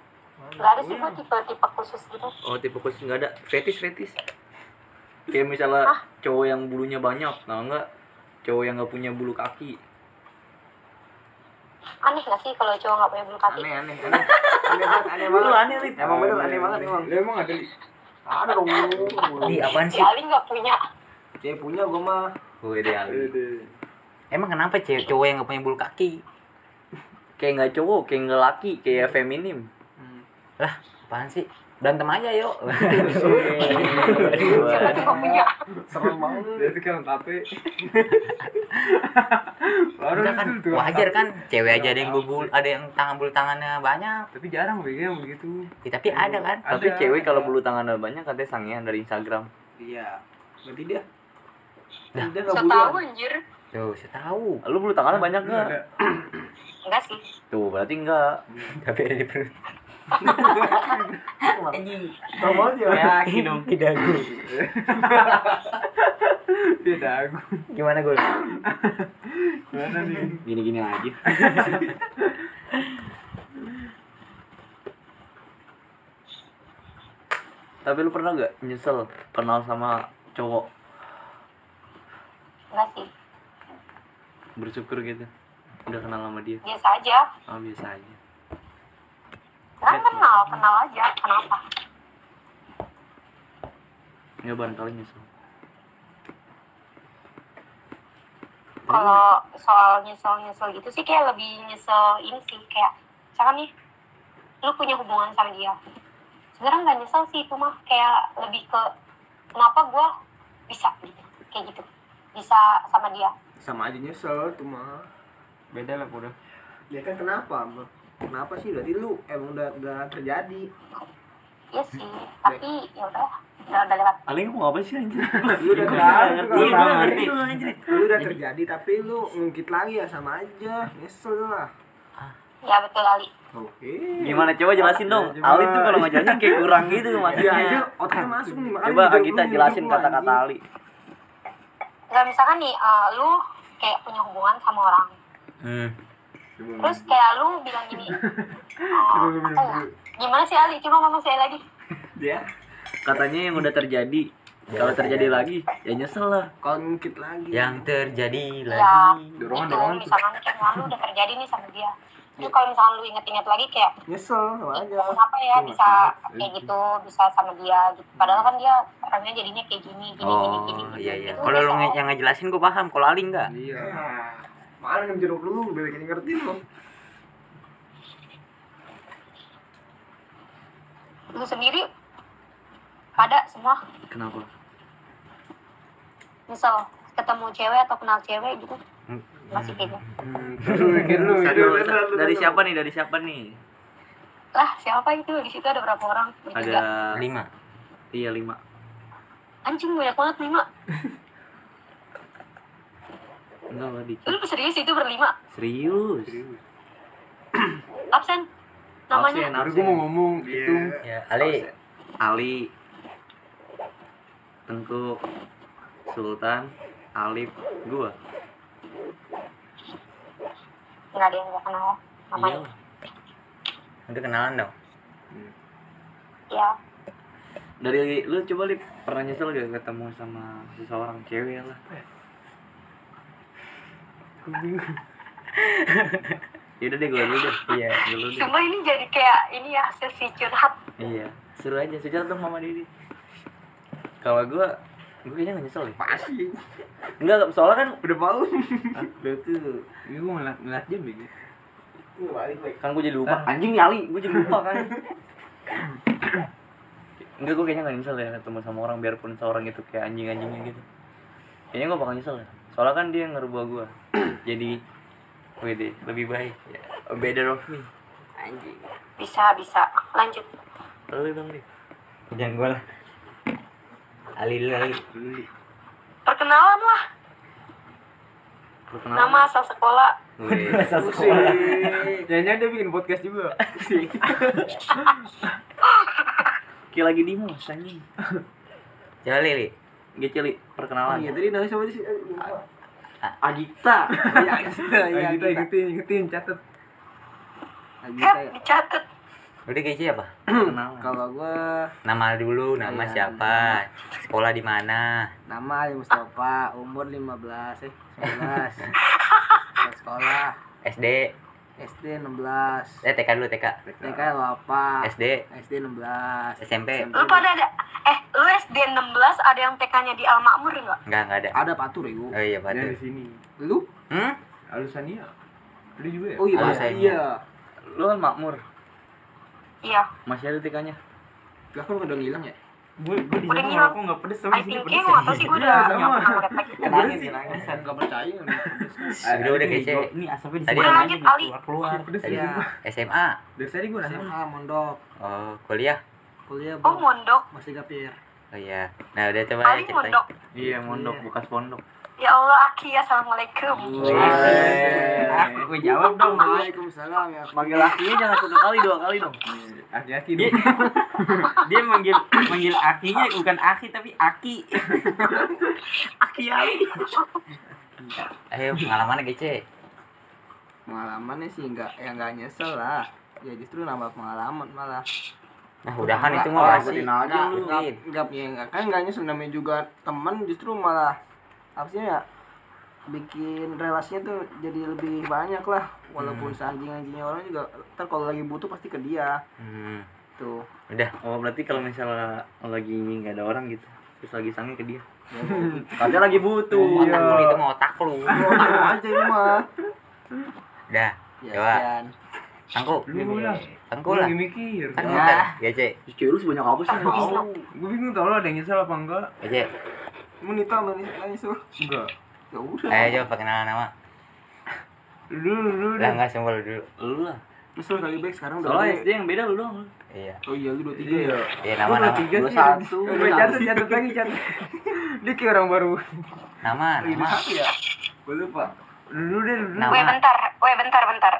Speaker 2: Enggak ada sih gue tipe-tipe khusus gitu.
Speaker 1: Oh tipe khusus nggak ada fetish fetish. Kayak misalnya
Speaker 2: Ah.
Speaker 1: cowok yang bulunya banyak, nah enggak cowok yang nggak punya bulu kaki
Speaker 2: Aneh gak sih kalau cowok nggak punya bulu kaki?
Speaker 1: aneh aneh aneh
Speaker 3: Aneh banget, aneh
Speaker 1: Lu
Speaker 3: banget.
Speaker 1: aneh Lip.
Speaker 3: Emang bener aneh banget emang.
Speaker 4: Lu emang ada Li?
Speaker 3: Ada dong.
Speaker 6: Di apaan
Speaker 2: Si
Speaker 6: sih?
Speaker 2: Ali Ya, nggak punya.
Speaker 3: Cewek punya gua mah.
Speaker 1: Gue deh Ali.
Speaker 6: Emang kenapa cewek cowok yang gak punya bulu kaki?
Speaker 1: Kayak nggak cowok, kayak nggak laki, kayak feminim.
Speaker 3: Hmm,
Speaker 6: Lah, apaan sih? Berantem aja yuk.
Speaker 2: Siapa tuh nggak punya?
Speaker 3: Serem banget.
Speaker 4: Dia pikiran tape. Baru
Speaker 6: Enggak kan
Speaker 4: itu tuh.
Speaker 6: wajar kan cewek aja ada yang bulu ada yang tangan bulu tangannya banyak.
Speaker 4: Tapi jarang bego yang begitu.
Speaker 6: Ya, tapi ada kan.
Speaker 1: Tapi
Speaker 4: Ada,
Speaker 1: cewek kalau
Speaker 4: ada.
Speaker 1: bulu tangannya banyak katanya sangean dari Instagram.
Speaker 3: Iya. Berarti dia
Speaker 6: Dah.
Speaker 3: dia nggak
Speaker 2: Gak
Speaker 3: buruan.
Speaker 2: tahu anjir.
Speaker 6: Tuh, saya tahu.
Speaker 1: Lu bulu tangannya banyak nggak?
Speaker 4: Ada.
Speaker 2: Enggak sih.
Speaker 1: Tuh berarti enggak.
Speaker 6: Tapi ada di perut.
Speaker 3: Tahu banget ya.
Speaker 5: Ya, dong.
Speaker 6: Tidak gue.
Speaker 4: Dia dagu.
Speaker 6: Gimana gue?
Speaker 4: Gimana nih?
Speaker 1: Gini-gini aja. Tapi lu pernah nggak nyesel kenal sama cowok
Speaker 2: Enggak sih.
Speaker 1: bersyukur gitu? Udah kenal sama dia?
Speaker 2: Biasa aja.
Speaker 1: Oh, biasa aja.
Speaker 2: Kan kenal, kenal aja. Kenapa?
Speaker 1: Nggak barangkali nyesel.
Speaker 2: Kalau
Speaker 1: Iya.
Speaker 2: soal nyesel-nyesel gitu sih kayak lebih nyesel ini sih kayak misalkan nih lu punya hubungan sama dia. Sebenarnya nggak nyesel sih itu mah kayak lebih ke kenapa gua bisa gitu. Kayak gitu. Bisa sama dia.
Speaker 3: Sama aja nyesel tuh mah.
Speaker 5: Beda lah udah.
Speaker 3: Ya kan kenapa? Bang? Kenapa sih? Berarti lu emang udah udah terjadi.
Speaker 2: Iya sih, tapi ya udah, udah udah lewat.
Speaker 1: Aling mau apa sih anjir?
Speaker 3: Lu udah
Speaker 4: Nggak
Speaker 3: terjadi.
Speaker 4: ngerti, nggak ngerti.
Speaker 3: Lu udah terjadi tapi lu ngungkit lagi ya sama aja. Nyesel lah.
Speaker 2: Ya betul kali.
Speaker 3: Oke.
Speaker 1: Gimana coba jelasin dong.
Speaker 4: Iya, Coba. Iya,
Speaker 1: Ali tuh kalau ngajarin kayak kurang gitu
Speaker 3: Ya aja
Speaker 1: maksudnya.
Speaker 3: otaknya masuk nih makanya
Speaker 1: Coba
Speaker 3: hidup lu
Speaker 1: kita
Speaker 3: hidup
Speaker 1: jelasin
Speaker 3: lu,
Speaker 1: kata-kata
Speaker 3: anjing.
Speaker 1: Ali.
Speaker 2: Nggak misalkan nih, eh, lu kayak punya hubungan sama orang.
Speaker 6: Hmm.
Speaker 2: Terus kayak lu bilang gini, eh, apa ya? Gimana sih Ali? Coba ngomong saya lagi.
Speaker 3: Dia
Speaker 1: Katanya yang udah terjadi. Kalau terjadi lagi ya nyesel lah.
Speaker 3: kalau ngungkit lagi.
Speaker 6: Yang terjadi
Speaker 2: Ya,
Speaker 6: lagi.
Speaker 2: itu
Speaker 4: Dorongan, dorongan tuh.
Speaker 2: misalkan kayak lu udah terjadi nih sama dia.
Speaker 6: Iya.
Speaker 2: Terus kalau misalkan lu inget-inget lagi kayak,
Speaker 3: nyesel sama
Speaker 2: "Ih,
Speaker 3: aja.
Speaker 2: kenapa ya bisa kayak gitu, bisa sama dia gitu. Padahal kan dia orangnya jadinya kayak gini, gini, gini, gini.
Speaker 6: Oh,
Speaker 2: gitu.
Speaker 6: iya iya.
Speaker 2: Itu
Speaker 6: Kalau lu
Speaker 2: nyesel.
Speaker 6: nge- yang ngejelasin gue paham, kalau Ali enggak.
Speaker 3: Iya.
Speaker 4: Mana yang jeruk dulu, bebek yang ngerti lu.
Speaker 2: lu sendiri ada semua
Speaker 1: Kenapa?
Speaker 2: misal ketemu cewek atau kenal cewek gitu masih kayaknya
Speaker 4: Terus mikir lu, mikir
Speaker 1: Aduh,
Speaker 4: lu.
Speaker 1: sa- dari siapa nih? Dari siapa nih?
Speaker 2: lah siapa itu di situ ada berapa orang
Speaker 1: Ada
Speaker 2: Bertiga.
Speaker 6: Lima.
Speaker 1: iya lima.
Speaker 2: anjing banyak banget lima
Speaker 1: Enggak lah dikit.
Speaker 2: lu serius itu berlima
Speaker 1: Serius.
Speaker 2: absen namanya
Speaker 4: Baru gua mau ngomong gitu.
Speaker 6: Ya, Ali.
Speaker 1: Eh, Ali Tengku Sultan Alif gua.
Speaker 2: nggak ada yang nggak kenal namanya
Speaker 1: Iyalah.
Speaker 6: Itu kenalan dong.
Speaker 2: ya
Speaker 1: Dari lu coba Lip, pernah nyesel gak ketemu sama seseorang cewek lah? Yaudah deh gua dulu deh. Iya, dulu deh.
Speaker 2: semua ini jadi kayak ini ya sesi curhat
Speaker 1: Iya, seru aja. Sejarah dong Mama Didi. Kalau gua gua kayaknya gak nyesel deh.
Speaker 4: Pasti.
Speaker 1: Enggak, soalnya kan
Speaker 4: Udah mau.
Speaker 1: lu tuh
Speaker 4: Ini Iya, gua ngeliat ngeliat jam ya.
Speaker 3: Lu balik baik.
Speaker 1: kan gue jadi lupa anjing nih Ali gue jadi lupa kan enggak gue kayaknya gak nyesel ya ketemu sama orang biarpun seorang itu kayak anjing-anjingnya gitu kayaknya gue bakal nyesel ya soalnya kan dia yang ngerubah gue jadi wede lebih baik ya, a better of me anjing
Speaker 2: bisa bisa lanjut
Speaker 1: lalu dong deh
Speaker 6: Jangan gue lah. Ali dulu, Ali.
Speaker 2: perkenalan lah nama asal sekolah
Speaker 6: Masa
Speaker 4: Sih.
Speaker 6: sekolah.
Speaker 4: Jangan-jangan dia bikin podcast juga.
Speaker 1: kayak lagi di mas anjing
Speaker 6: Ya, Ali, Ali.
Speaker 1: geceli perkenalan
Speaker 3: Oh Iya, tadi namanya siapa sih? Eh, lupa. Agita. Iya, Agita. Iya,
Speaker 4: Ayo kita
Speaker 3: Agita.
Speaker 4: ikutin, ikutin, catet.
Speaker 3: Agita
Speaker 2: Cat,
Speaker 3: ya.
Speaker 2: dicatat.
Speaker 6: Udah kayak siapa?
Speaker 1: Kenal.
Speaker 3: Kalau gua
Speaker 6: Nama dulu, nama
Speaker 3: Iya.
Speaker 6: siapa? Sekolah di mana?
Speaker 3: nama Ali Mustafa, umur 15 eh 11. Udah sekolah
Speaker 6: SD,
Speaker 3: SD 16.
Speaker 6: eh TK dulu TK.
Speaker 3: TK lu apa?
Speaker 6: SD,
Speaker 3: SD 16.
Speaker 6: SMP.
Speaker 2: Lu pada ada eh lu SD 16 ada yang TK-nya di Al Makmur enggak?
Speaker 6: Enggak, enggak ada.
Speaker 3: Ada patur Ibu.
Speaker 6: Oh
Speaker 4: Dia di
Speaker 6: iya, patuh.
Speaker 4: sini.
Speaker 3: Lu?
Speaker 6: Hmm?
Speaker 4: Alusania. Lu iya. juga ya?
Speaker 3: Oh iya,
Speaker 6: Ada
Speaker 3: Mas.
Speaker 6: saya.
Speaker 3: Iya.
Speaker 1: Lu kan makmur.
Speaker 2: Iya.
Speaker 1: Masih ada tikanya.
Speaker 3: Lah kan udah ngilang ya?
Speaker 5: Gue gue di
Speaker 2: Udah
Speaker 5: sana
Speaker 2: ngilang.
Speaker 5: rokok nggak pedes sama
Speaker 2: I
Speaker 5: di sini
Speaker 2: think
Speaker 5: pedes.
Speaker 2: nggak tau sih gue udah
Speaker 4: Iya,
Speaker 2: nggak
Speaker 4: sama.
Speaker 2: pernah pakai TK.
Speaker 1: Kenangin, kenangin.
Speaker 3: Enggak percaya.
Speaker 6: Udah, udah kece.
Speaker 5: Ini asapnya di
Speaker 6: Tadi
Speaker 5: sini
Speaker 6: ada-
Speaker 5: aja
Speaker 2: Ali.
Speaker 5: keluar keluar.
Speaker 4: Pedes
Speaker 3: Iya.
Speaker 4: ya.
Speaker 6: SMA.
Speaker 4: Dari tadi gue nanya.
Speaker 3: SMA mondok,
Speaker 6: Oh, kuliah.
Speaker 3: kuliah
Speaker 2: Oh
Speaker 3: Bro.
Speaker 2: mondok,
Speaker 3: masih gapir.
Speaker 6: Oh iya. Nah, udah coba
Speaker 2: Ali
Speaker 6: ceritain.
Speaker 2: mondok.
Speaker 1: Iya, mondok bukan pondok.
Speaker 2: Ya Allah Aki, assalamualaikum.
Speaker 5: Aku gue jawab dong.
Speaker 3: Waalaikumsalam ya.
Speaker 1: Manggil lakinya jangan satu kali, dua kali dong.
Speaker 4: Aki-aki
Speaker 5: Dia,
Speaker 4: dong.
Speaker 5: dia manggil manggil akinya bukan aki tapi aki.
Speaker 6: Ayo, pengalaman kece.
Speaker 3: Pengalamannya sih enggak ya enggak nyesel lah. Ya justru nambah pengalaman malah.
Speaker 6: Nah, udahan itu
Speaker 3: Nggak-
Speaker 6: mah Nah, gitu. pasti.
Speaker 3: nggak- nggak-
Speaker 6: lu.
Speaker 3: nggak- nggak ya nggak- kan enggak nyesel namanya juga teman justru malah apa sih ya bikin relasinya tuh jadi lebih banyak lah walaupun seanjing-anjingnya orang juga ntar kalau lagi butuh pasti ke dia
Speaker 6: Hmm.
Speaker 3: tuh
Speaker 6: Udah.
Speaker 1: Oh, berarti kalau misalnya lagi ini nggak ada orang gitu. Terus lagi sange ke dia.
Speaker 3: ya, mau-
Speaker 1: Katanya lagi butuh.
Speaker 6: Otak lu itu mau otak lu.
Speaker 3: mau Iya. aja ini mah
Speaker 6: Udah.
Speaker 3: ya
Speaker 6: Coba.
Speaker 3: sekian
Speaker 6: Tangku.
Speaker 4: Lu Ah. lah.
Speaker 6: Tangku
Speaker 4: Gue
Speaker 6: lah.
Speaker 4: lagi mikir.
Speaker 6: Kan
Speaker 3: Ya.
Speaker 6: muter. Gece.
Speaker 1: Cewek lu sebanyak apa sih?
Speaker 4: Gue bingung tau lo ada yang nyesel apa enggak.
Speaker 6: Gece.
Speaker 3: mau nita mau nita nyusul
Speaker 4: Enggak.
Speaker 3: ya udah
Speaker 6: Ayo coba perkenalan nama.
Speaker 4: Lu dulu, lu
Speaker 6: Udah
Speaker 4: dulu.
Speaker 6: enggak sumpah lu dulu.
Speaker 1: Lu lah.
Speaker 3: nyusul kali baik sekarang udah
Speaker 1: Soalnya
Speaker 3: gede.
Speaker 1: SD yang beda lu doang. lu.
Speaker 6: Iya.
Speaker 3: oh iya lu dua tiga ya
Speaker 6: Iya, nama-nama.
Speaker 4: tiga
Speaker 1: Lu
Speaker 4: sih.
Speaker 1: satu.
Speaker 4: Gue catet, catet lagi, catet. Dia kayak orang baru.
Speaker 6: Nama, nama.
Speaker 3: gue ya? lupa
Speaker 4: Lu dulu deh, lu dulu.
Speaker 2: Weh
Speaker 6: Nama.
Speaker 2: bentar, weh bentar bentar.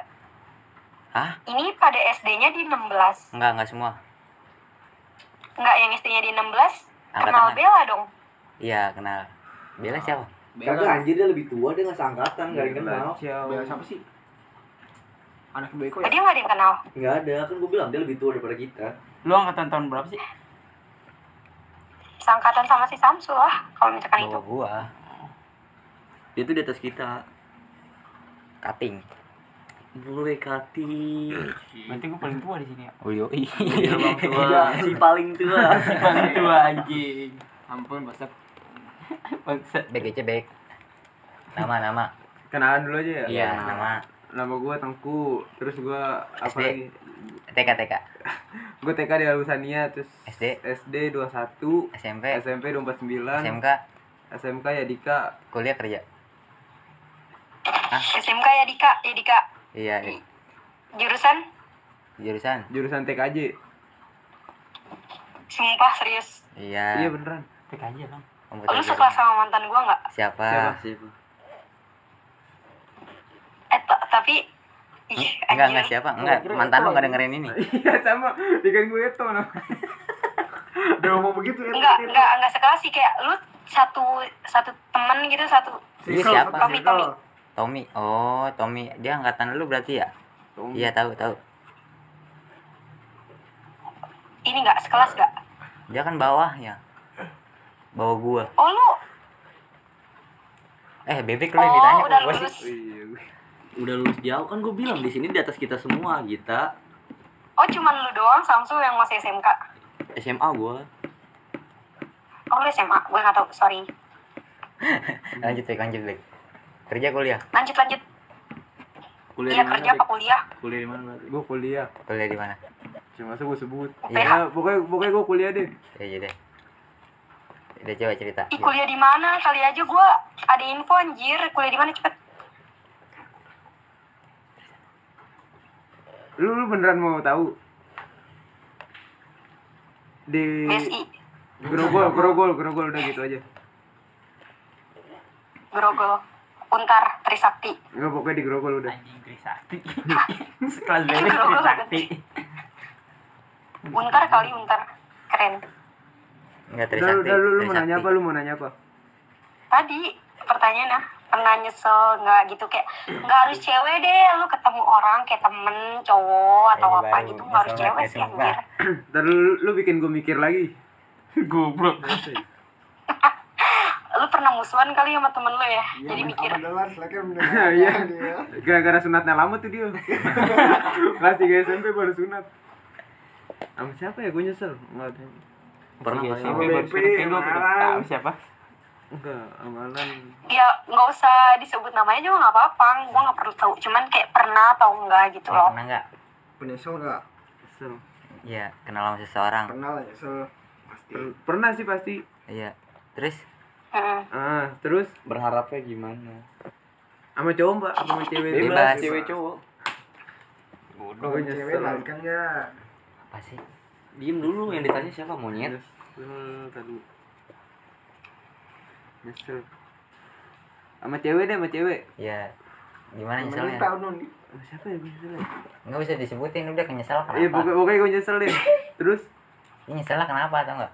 Speaker 6: Hah?
Speaker 2: Ini pada SD-nya di 16.
Speaker 6: Enggak, enggak semua.
Speaker 2: Enggak yang SD-nya di 16.
Speaker 6: Angkat
Speaker 2: Kenal
Speaker 6: tangan.
Speaker 2: Bella dong.
Speaker 6: Iya, kenal. Bella siapa?
Speaker 3: Bella
Speaker 1: anjir dia lebih tua, dia nggak seangkatan, Iya, nggak
Speaker 3: Bella siapa sih anak beko ya
Speaker 2: Jadi nggak ada yang kenal.
Speaker 1: Nggak ada, kan gue bilang dia lebih tua daripada kita.
Speaker 5: Lu angkatan tahun berapa sih?
Speaker 2: Sangkatan sama si Samsul lah kalau misalkan itu.
Speaker 6: Bawa gua.
Speaker 1: Dia tuh di atas kita.
Speaker 6: Kating.
Speaker 1: Boleh kati.
Speaker 5: Berarti gue paling tua di sini ya.
Speaker 6: Oh iya.
Speaker 1: Dia bang tua, si paling tua.
Speaker 5: Paling tua anjing.
Speaker 3: ampun basah
Speaker 5: Bangsa.
Speaker 6: Back Gece, back. Nama, nama.
Speaker 4: Kenalan dulu aja ya.
Speaker 6: Iya, nama.
Speaker 4: Nama gue Tengku. Terus gue apa
Speaker 6: SD.
Speaker 4: lagi?
Speaker 6: TK, TK.
Speaker 4: Gue TK di Alusania, terus
Speaker 6: SD.
Speaker 4: SD 21,
Speaker 6: SMP,
Speaker 4: SMP 249,
Speaker 6: SMK,
Speaker 4: SMK ya Dika.
Speaker 6: kuliah kerja.
Speaker 2: SMK ya Dika, ya Dika.
Speaker 6: Iya,
Speaker 2: Jurusan
Speaker 6: jurusan.
Speaker 4: Jurusan TKJ.
Speaker 2: sumpah serius.
Speaker 4: Iya
Speaker 6: Iya,
Speaker 4: beneran.
Speaker 5: Tek aja dong.
Speaker 6: komputer.
Speaker 2: Lu
Speaker 6: jurusan.
Speaker 2: sekelas sama mantan gua nggak?
Speaker 6: Siapa?
Speaker 1: Siapa?
Speaker 2: Eh ta- tapi ih,
Speaker 6: Enggak,
Speaker 2: Eh, anjir.
Speaker 6: enggak siapa? Enggak, mantan lu enggak dengerin ini.
Speaker 4: Iya sama. Dengan gue itu nama. Udah mau begitu ya.
Speaker 2: Enggak, enggak, enggak sekelas sih kayak lu satu satu temen gitu satu
Speaker 6: Dia siapa?
Speaker 2: Tommy Tommy
Speaker 6: Tommy. Oh, Tommy. Dia angkatan lu berarti ya? Iya, tahu, tahu.
Speaker 2: ini enggak sekelas enggak
Speaker 6: Dia kan bawah ya. Bawah gua.
Speaker 2: oh lu
Speaker 6: Eh, bebek lu yang ditanya
Speaker 2: oh udah
Speaker 6: kok gua sih.
Speaker 2: lulus
Speaker 4: Iya. gue.
Speaker 1: Udah lulus jauh kan gue bilang di sini di atas kita semua kita
Speaker 2: oh cuman lu doang Samsu yang masih SMK
Speaker 1: SMA gue
Speaker 2: oh lu SMA gue nggak tahu sorry
Speaker 6: Lanjut, Bek, lanjut, Bek. Kerja kuliah,
Speaker 2: lanjut lanjut
Speaker 1: kuliah
Speaker 2: iya
Speaker 1: di
Speaker 2: kerja
Speaker 1: mana?
Speaker 2: apa kuliah
Speaker 1: Bek? Kuliah di mana? berarti?
Speaker 4: Gue kuliah.
Speaker 6: kuliah di mana?
Speaker 4: Cuma masa gue sebut.
Speaker 3: Iya.
Speaker 2: UPH
Speaker 4: Ya, pokoknya pokoknya gue kuliah deh.
Speaker 6: Iya, deh. Udah coba cerita.
Speaker 2: Ih, kuliah di mana kali aja gue ada info anjir kuliah di mana cepet
Speaker 4: Lu lu beneran mau tahu? Di
Speaker 2: BSI
Speaker 4: Grogol, Grogol, Grogol udah gitu aja.
Speaker 2: Grogol Untar Trisakti
Speaker 4: Enggak pokoknya di Grogol udah.
Speaker 5: Anjing Trisakti. Sekelas bebek Trisakti.
Speaker 2: Untar kali Untar keren
Speaker 4: Udah,
Speaker 6: Enggak Trisakti. Eh, Oh,
Speaker 4: udah lu, lu mau
Speaker 6: Trisakti.
Speaker 4: nanya apa? Lu mau nanya apa?
Speaker 2: tadi pertanyaan ah nggak nyesel nggak gitu kayak nggak harus cewek deh lu ketemu orang kayak temen cowok atau
Speaker 6: Jadi
Speaker 2: apa
Speaker 6: baru
Speaker 2: gitu nggak harus
Speaker 6: nyesel
Speaker 2: cewek
Speaker 6: nggak
Speaker 2: sih
Speaker 6: nyesel.
Speaker 2: anjir
Speaker 4: Dan lu, lu bikin gue mikir lagi. Goblok.
Speaker 2: lu pernah musuhan kali sama temen lu ya jadi mikir
Speaker 7: mendengar, seleknya
Speaker 4: Nah,
Speaker 7: mendengar.
Speaker 4: Iya.
Speaker 7: Dia.
Speaker 4: Gara-gara sunatnya lama tuh dia. Kelas 3 SMP baru sunat. Sama siapa ya gue nyesel? Enggak ada.
Speaker 1: Pernah nggak sih?
Speaker 4: Sama
Speaker 5: Gue
Speaker 4: BP,
Speaker 5: gue
Speaker 4: Malang.
Speaker 5: tahu siapa.
Speaker 4: Enggak, amalan.
Speaker 2: ya nggak usah disebut namanya juga nggak apa-apa gua nggak perlu tahu cuman kayak pernah atau enggak gitu
Speaker 6: Ya,
Speaker 2: loh
Speaker 6: pernah nggak?
Speaker 7: Menyesal nggak?
Speaker 4: Nyesel.
Speaker 6: Iya, kenal sama seseorang.
Speaker 7: Pernah lah nyesel. Pasti.
Speaker 4: Per- pernah sih pasti.
Speaker 6: Iya. Terus
Speaker 2: Mm.
Speaker 4: Ah, terus
Speaker 1: Berharapnya gimana?
Speaker 4: sama cowok mbak, apa sama cewek.
Speaker 6: Bebas.
Speaker 1: cewek cowok.
Speaker 7: Kalau
Speaker 4: Gue
Speaker 7: cewek
Speaker 4: nyesel.
Speaker 7: larikan nggak?
Speaker 6: apa sih?
Speaker 1: Diem dulu yang ditanya siapa monyet.
Speaker 4: Hmm, tadi. Nyesel. Sama cewek deh, sama cewek.
Speaker 6: Iya. Gimana
Speaker 7: Temen
Speaker 6: nyeselnya?
Speaker 7: tahu non.
Speaker 4: Sama siapa ya gue nyesel? ya?
Speaker 6: Nggak bisa disebutin udah kenyesal kenapa?
Speaker 4: Iya, pokoknya, pokoknya gue nyesel deh. Terus
Speaker 6: Ini nyesel kenapa atau enggak?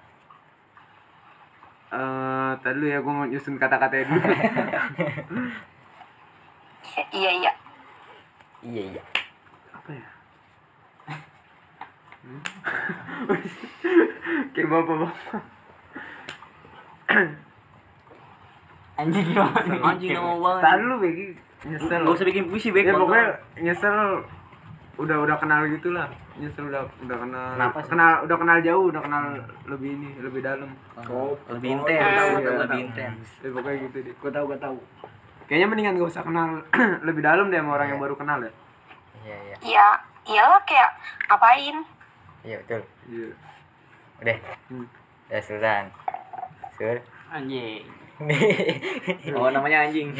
Speaker 4: Eh, tadi dulu ya gue mau nyusun kata-kata ya dulu.
Speaker 2: iya iya
Speaker 6: Iya iya.
Speaker 4: Apa ya? Hmm? Kayak bapak-bapak.
Speaker 6: Anjing gimana?
Speaker 1: Anjing nggak mau banget.
Speaker 4: Tadi lu Begi nyesel.
Speaker 1: Gak Oh, iya. usah bikin puisi baik
Speaker 4: Ya pokoknya nyesel udah udah kenal gitu lah. Nyesel udah udah kenal.
Speaker 6: Kenapa sih?
Speaker 4: Kenal udah kenal jauh, udah kenal lebih ini, lebih dalam.
Speaker 1: lebih intens,
Speaker 4: iya.
Speaker 1: lebih intens.
Speaker 4: Ya, pokoknya gitu deh.
Speaker 7: Gue tahu, gue tahu.
Speaker 4: Kayaknya mendingan gak usah kenal lebih dalam deh sama orang yang baru kenal ya.
Speaker 6: Iya iya.
Speaker 2: iya iyalah kayak ngapain
Speaker 6: Iya betul.
Speaker 4: Iya.
Speaker 6: Udah.
Speaker 4: Hmm.
Speaker 6: Ya Sultan. Sul.
Speaker 5: Anjing.
Speaker 1: Oh namanya anjing.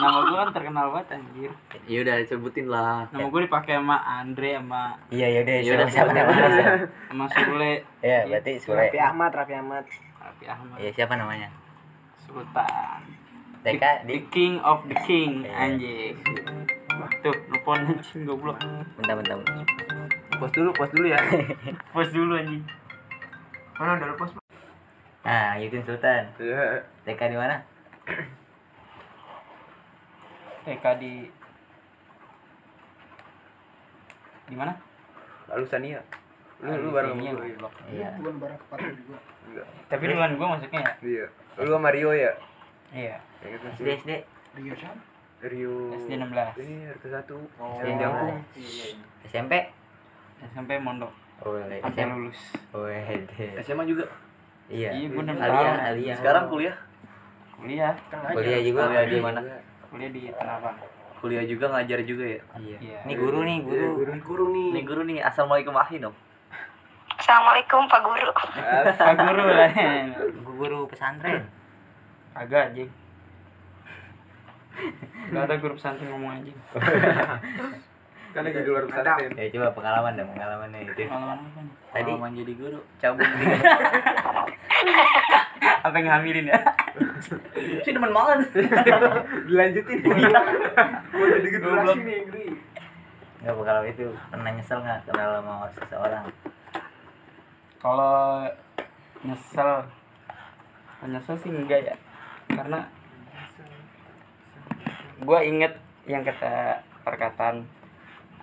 Speaker 5: Nama gue kan terkenal banget anjir.
Speaker 1: ya udah sebutin lah.
Speaker 5: Nama gue dipakai sama Andre sama
Speaker 6: Iya iya udah.
Speaker 1: Iya,
Speaker 6: Sudah
Speaker 1: udah.
Speaker 6: siapa namanya? Sul?
Speaker 5: sama Sule.
Speaker 6: Iya berarti Sule.
Speaker 1: ya?
Speaker 7: Raffi Ahmad, Raffi Ahmad.
Speaker 5: Tapi Ahmad
Speaker 6: Iya siapa namanya?
Speaker 5: Sultan.
Speaker 6: TK di
Speaker 5: The King of the King
Speaker 6: Iya.
Speaker 5: anjing. Tuh, nelfon anjing goblok.
Speaker 6: bentar bentar.
Speaker 4: Pos dulu, pos dulu ya.
Speaker 5: Pos dulu anjing.
Speaker 4: Mana udah pos?
Speaker 6: Nah, Yudin Sultan.
Speaker 4: Iya.
Speaker 6: TK di mana?
Speaker 5: TK Eh, di di mana?
Speaker 4: Lalu Sania. Lu lu bareng sama ya?
Speaker 5: Iya,
Speaker 4: gue.
Speaker 5: goblok.
Speaker 6: Iya.
Speaker 7: Bukan barang kepala juga.
Speaker 4: Enggak.
Speaker 5: Tapi duluan gue masuknya ya?
Speaker 4: Iya. Lu sama Rio ya?
Speaker 5: Iya.
Speaker 4: Ya, gitu
Speaker 6: SD
Speaker 4: sih.
Speaker 6: SD.
Speaker 7: Rio Chan.
Speaker 4: Rio.
Speaker 5: SD 16.
Speaker 4: Iya, RT 1. Oh.
Speaker 6: Iya.
Speaker 4: Jangkung.
Speaker 6: SMP.
Speaker 5: SMP mondok
Speaker 6: Oh, iya.
Speaker 5: sampai
Speaker 6: SMP.
Speaker 5: lulus.
Speaker 6: Oh, iya.
Speaker 1: SMA juga.
Speaker 6: Iya.
Speaker 5: Iya, gue enam
Speaker 6: Alia,
Speaker 5: tahun.
Speaker 6: Alia.
Speaker 1: Sekarang kuliah.
Speaker 5: Kuliah,
Speaker 6: kuliah juga
Speaker 1: Kuliah di mana?
Speaker 4: Iya.
Speaker 5: kuliah di Tanabang.
Speaker 1: Kuliah juga ngajar juga ya.
Speaker 6: Iya.
Speaker 5: Iya.
Speaker 6: Ini guru nih, guru.
Speaker 7: Gurun guru
Speaker 1: Nih
Speaker 7: nih.
Speaker 1: guru nih, assalamualaikum ahi dong.
Speaker 2: assalamualaikum pak guru
Speaker 5: Pak guru lah.
Speaker 6: Guru, guru pesantren.
Speaker 5: Agak anjing. Gak ada grup pesantren ngomong anjing.
Speaker 4: Kan lagi di luar pesantren.
Speaker 6: Ya coba pengalaman dong, pengalamannya itu.
Speaker 5: Pengalaman apa nih?
Speaker 6: Tadi
Speaker 1: Pengalaman jadi guru, cabut.
Speaker 5: Apa yang hamilin ya?
Speaker 1: Sih demen banget.
Speaker 4: Dilanjutin. Gua jadi generasi nih, Gri.
Speaker 6: enggak pengalaman itu pernah nyesel enggak kenal sama seseorang?
Speaker 5: Kalau nyesel, kalau nyesel sih enggak ya, karena gue inget yang kata perkataan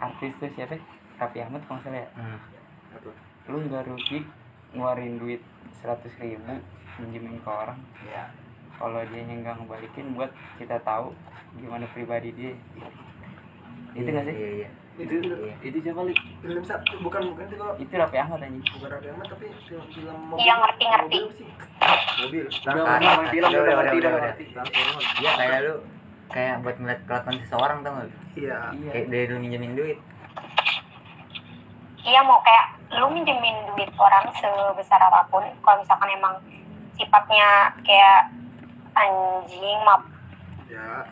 Speaker 5: artis tuh siapa? ya? Raffi Ahmad kalau nggak salah ya.
Speaker 6: Hmm.
Speaker 5: lu nggak rugi ngeluarin duit seratus ribu minjemin ke orang
Speaker 6: Iya.
Speaker 5: kalau dia nggak ngebalikin buat kita tahu gimana pribadi dia itu nggak sih
Speaker 6: Iya, iya.
Speaker 7: Itu
Speaker 6: Iya.
Speaker 1: Itu siapa li?
Speaker 7: film sat bukan bukan itu kok.
Speaker 5: itu Raffi Ahmad anjing
Speaker 7: Bukan Raffi Ahmad tapi film film mobil.
Speaker 2: Iya, ngerti, ngerti.
Speaker 7: Mobil sih.
Speaker 4: Mobil.
Speaker 1: Udah
Speaker 6: Ah,
Speaker 1: udah, udah,
Speaker 6: udah,
Speaker 1: udah,
Speaker 6: udah,
Speaker 1: ngerti,
Speaker 6: udah,
Speaker 1: udah
Speaker 6: udah.
Speaker 1: ngerti.
Speaker 6: Iya, kayak lu kayak buat ngeliat kelakuan seseorang tau gak?
Speaker 7: Iya.
Speaker 5: iya
Speaker 6: Kayak dari lu minjemin duit.
Speaker 2: iya mau kayak lu minjemin duit orang sebesar apapun kalau misalkan emang sifatnya kayak anjing maaf
Speaker 4: Iya.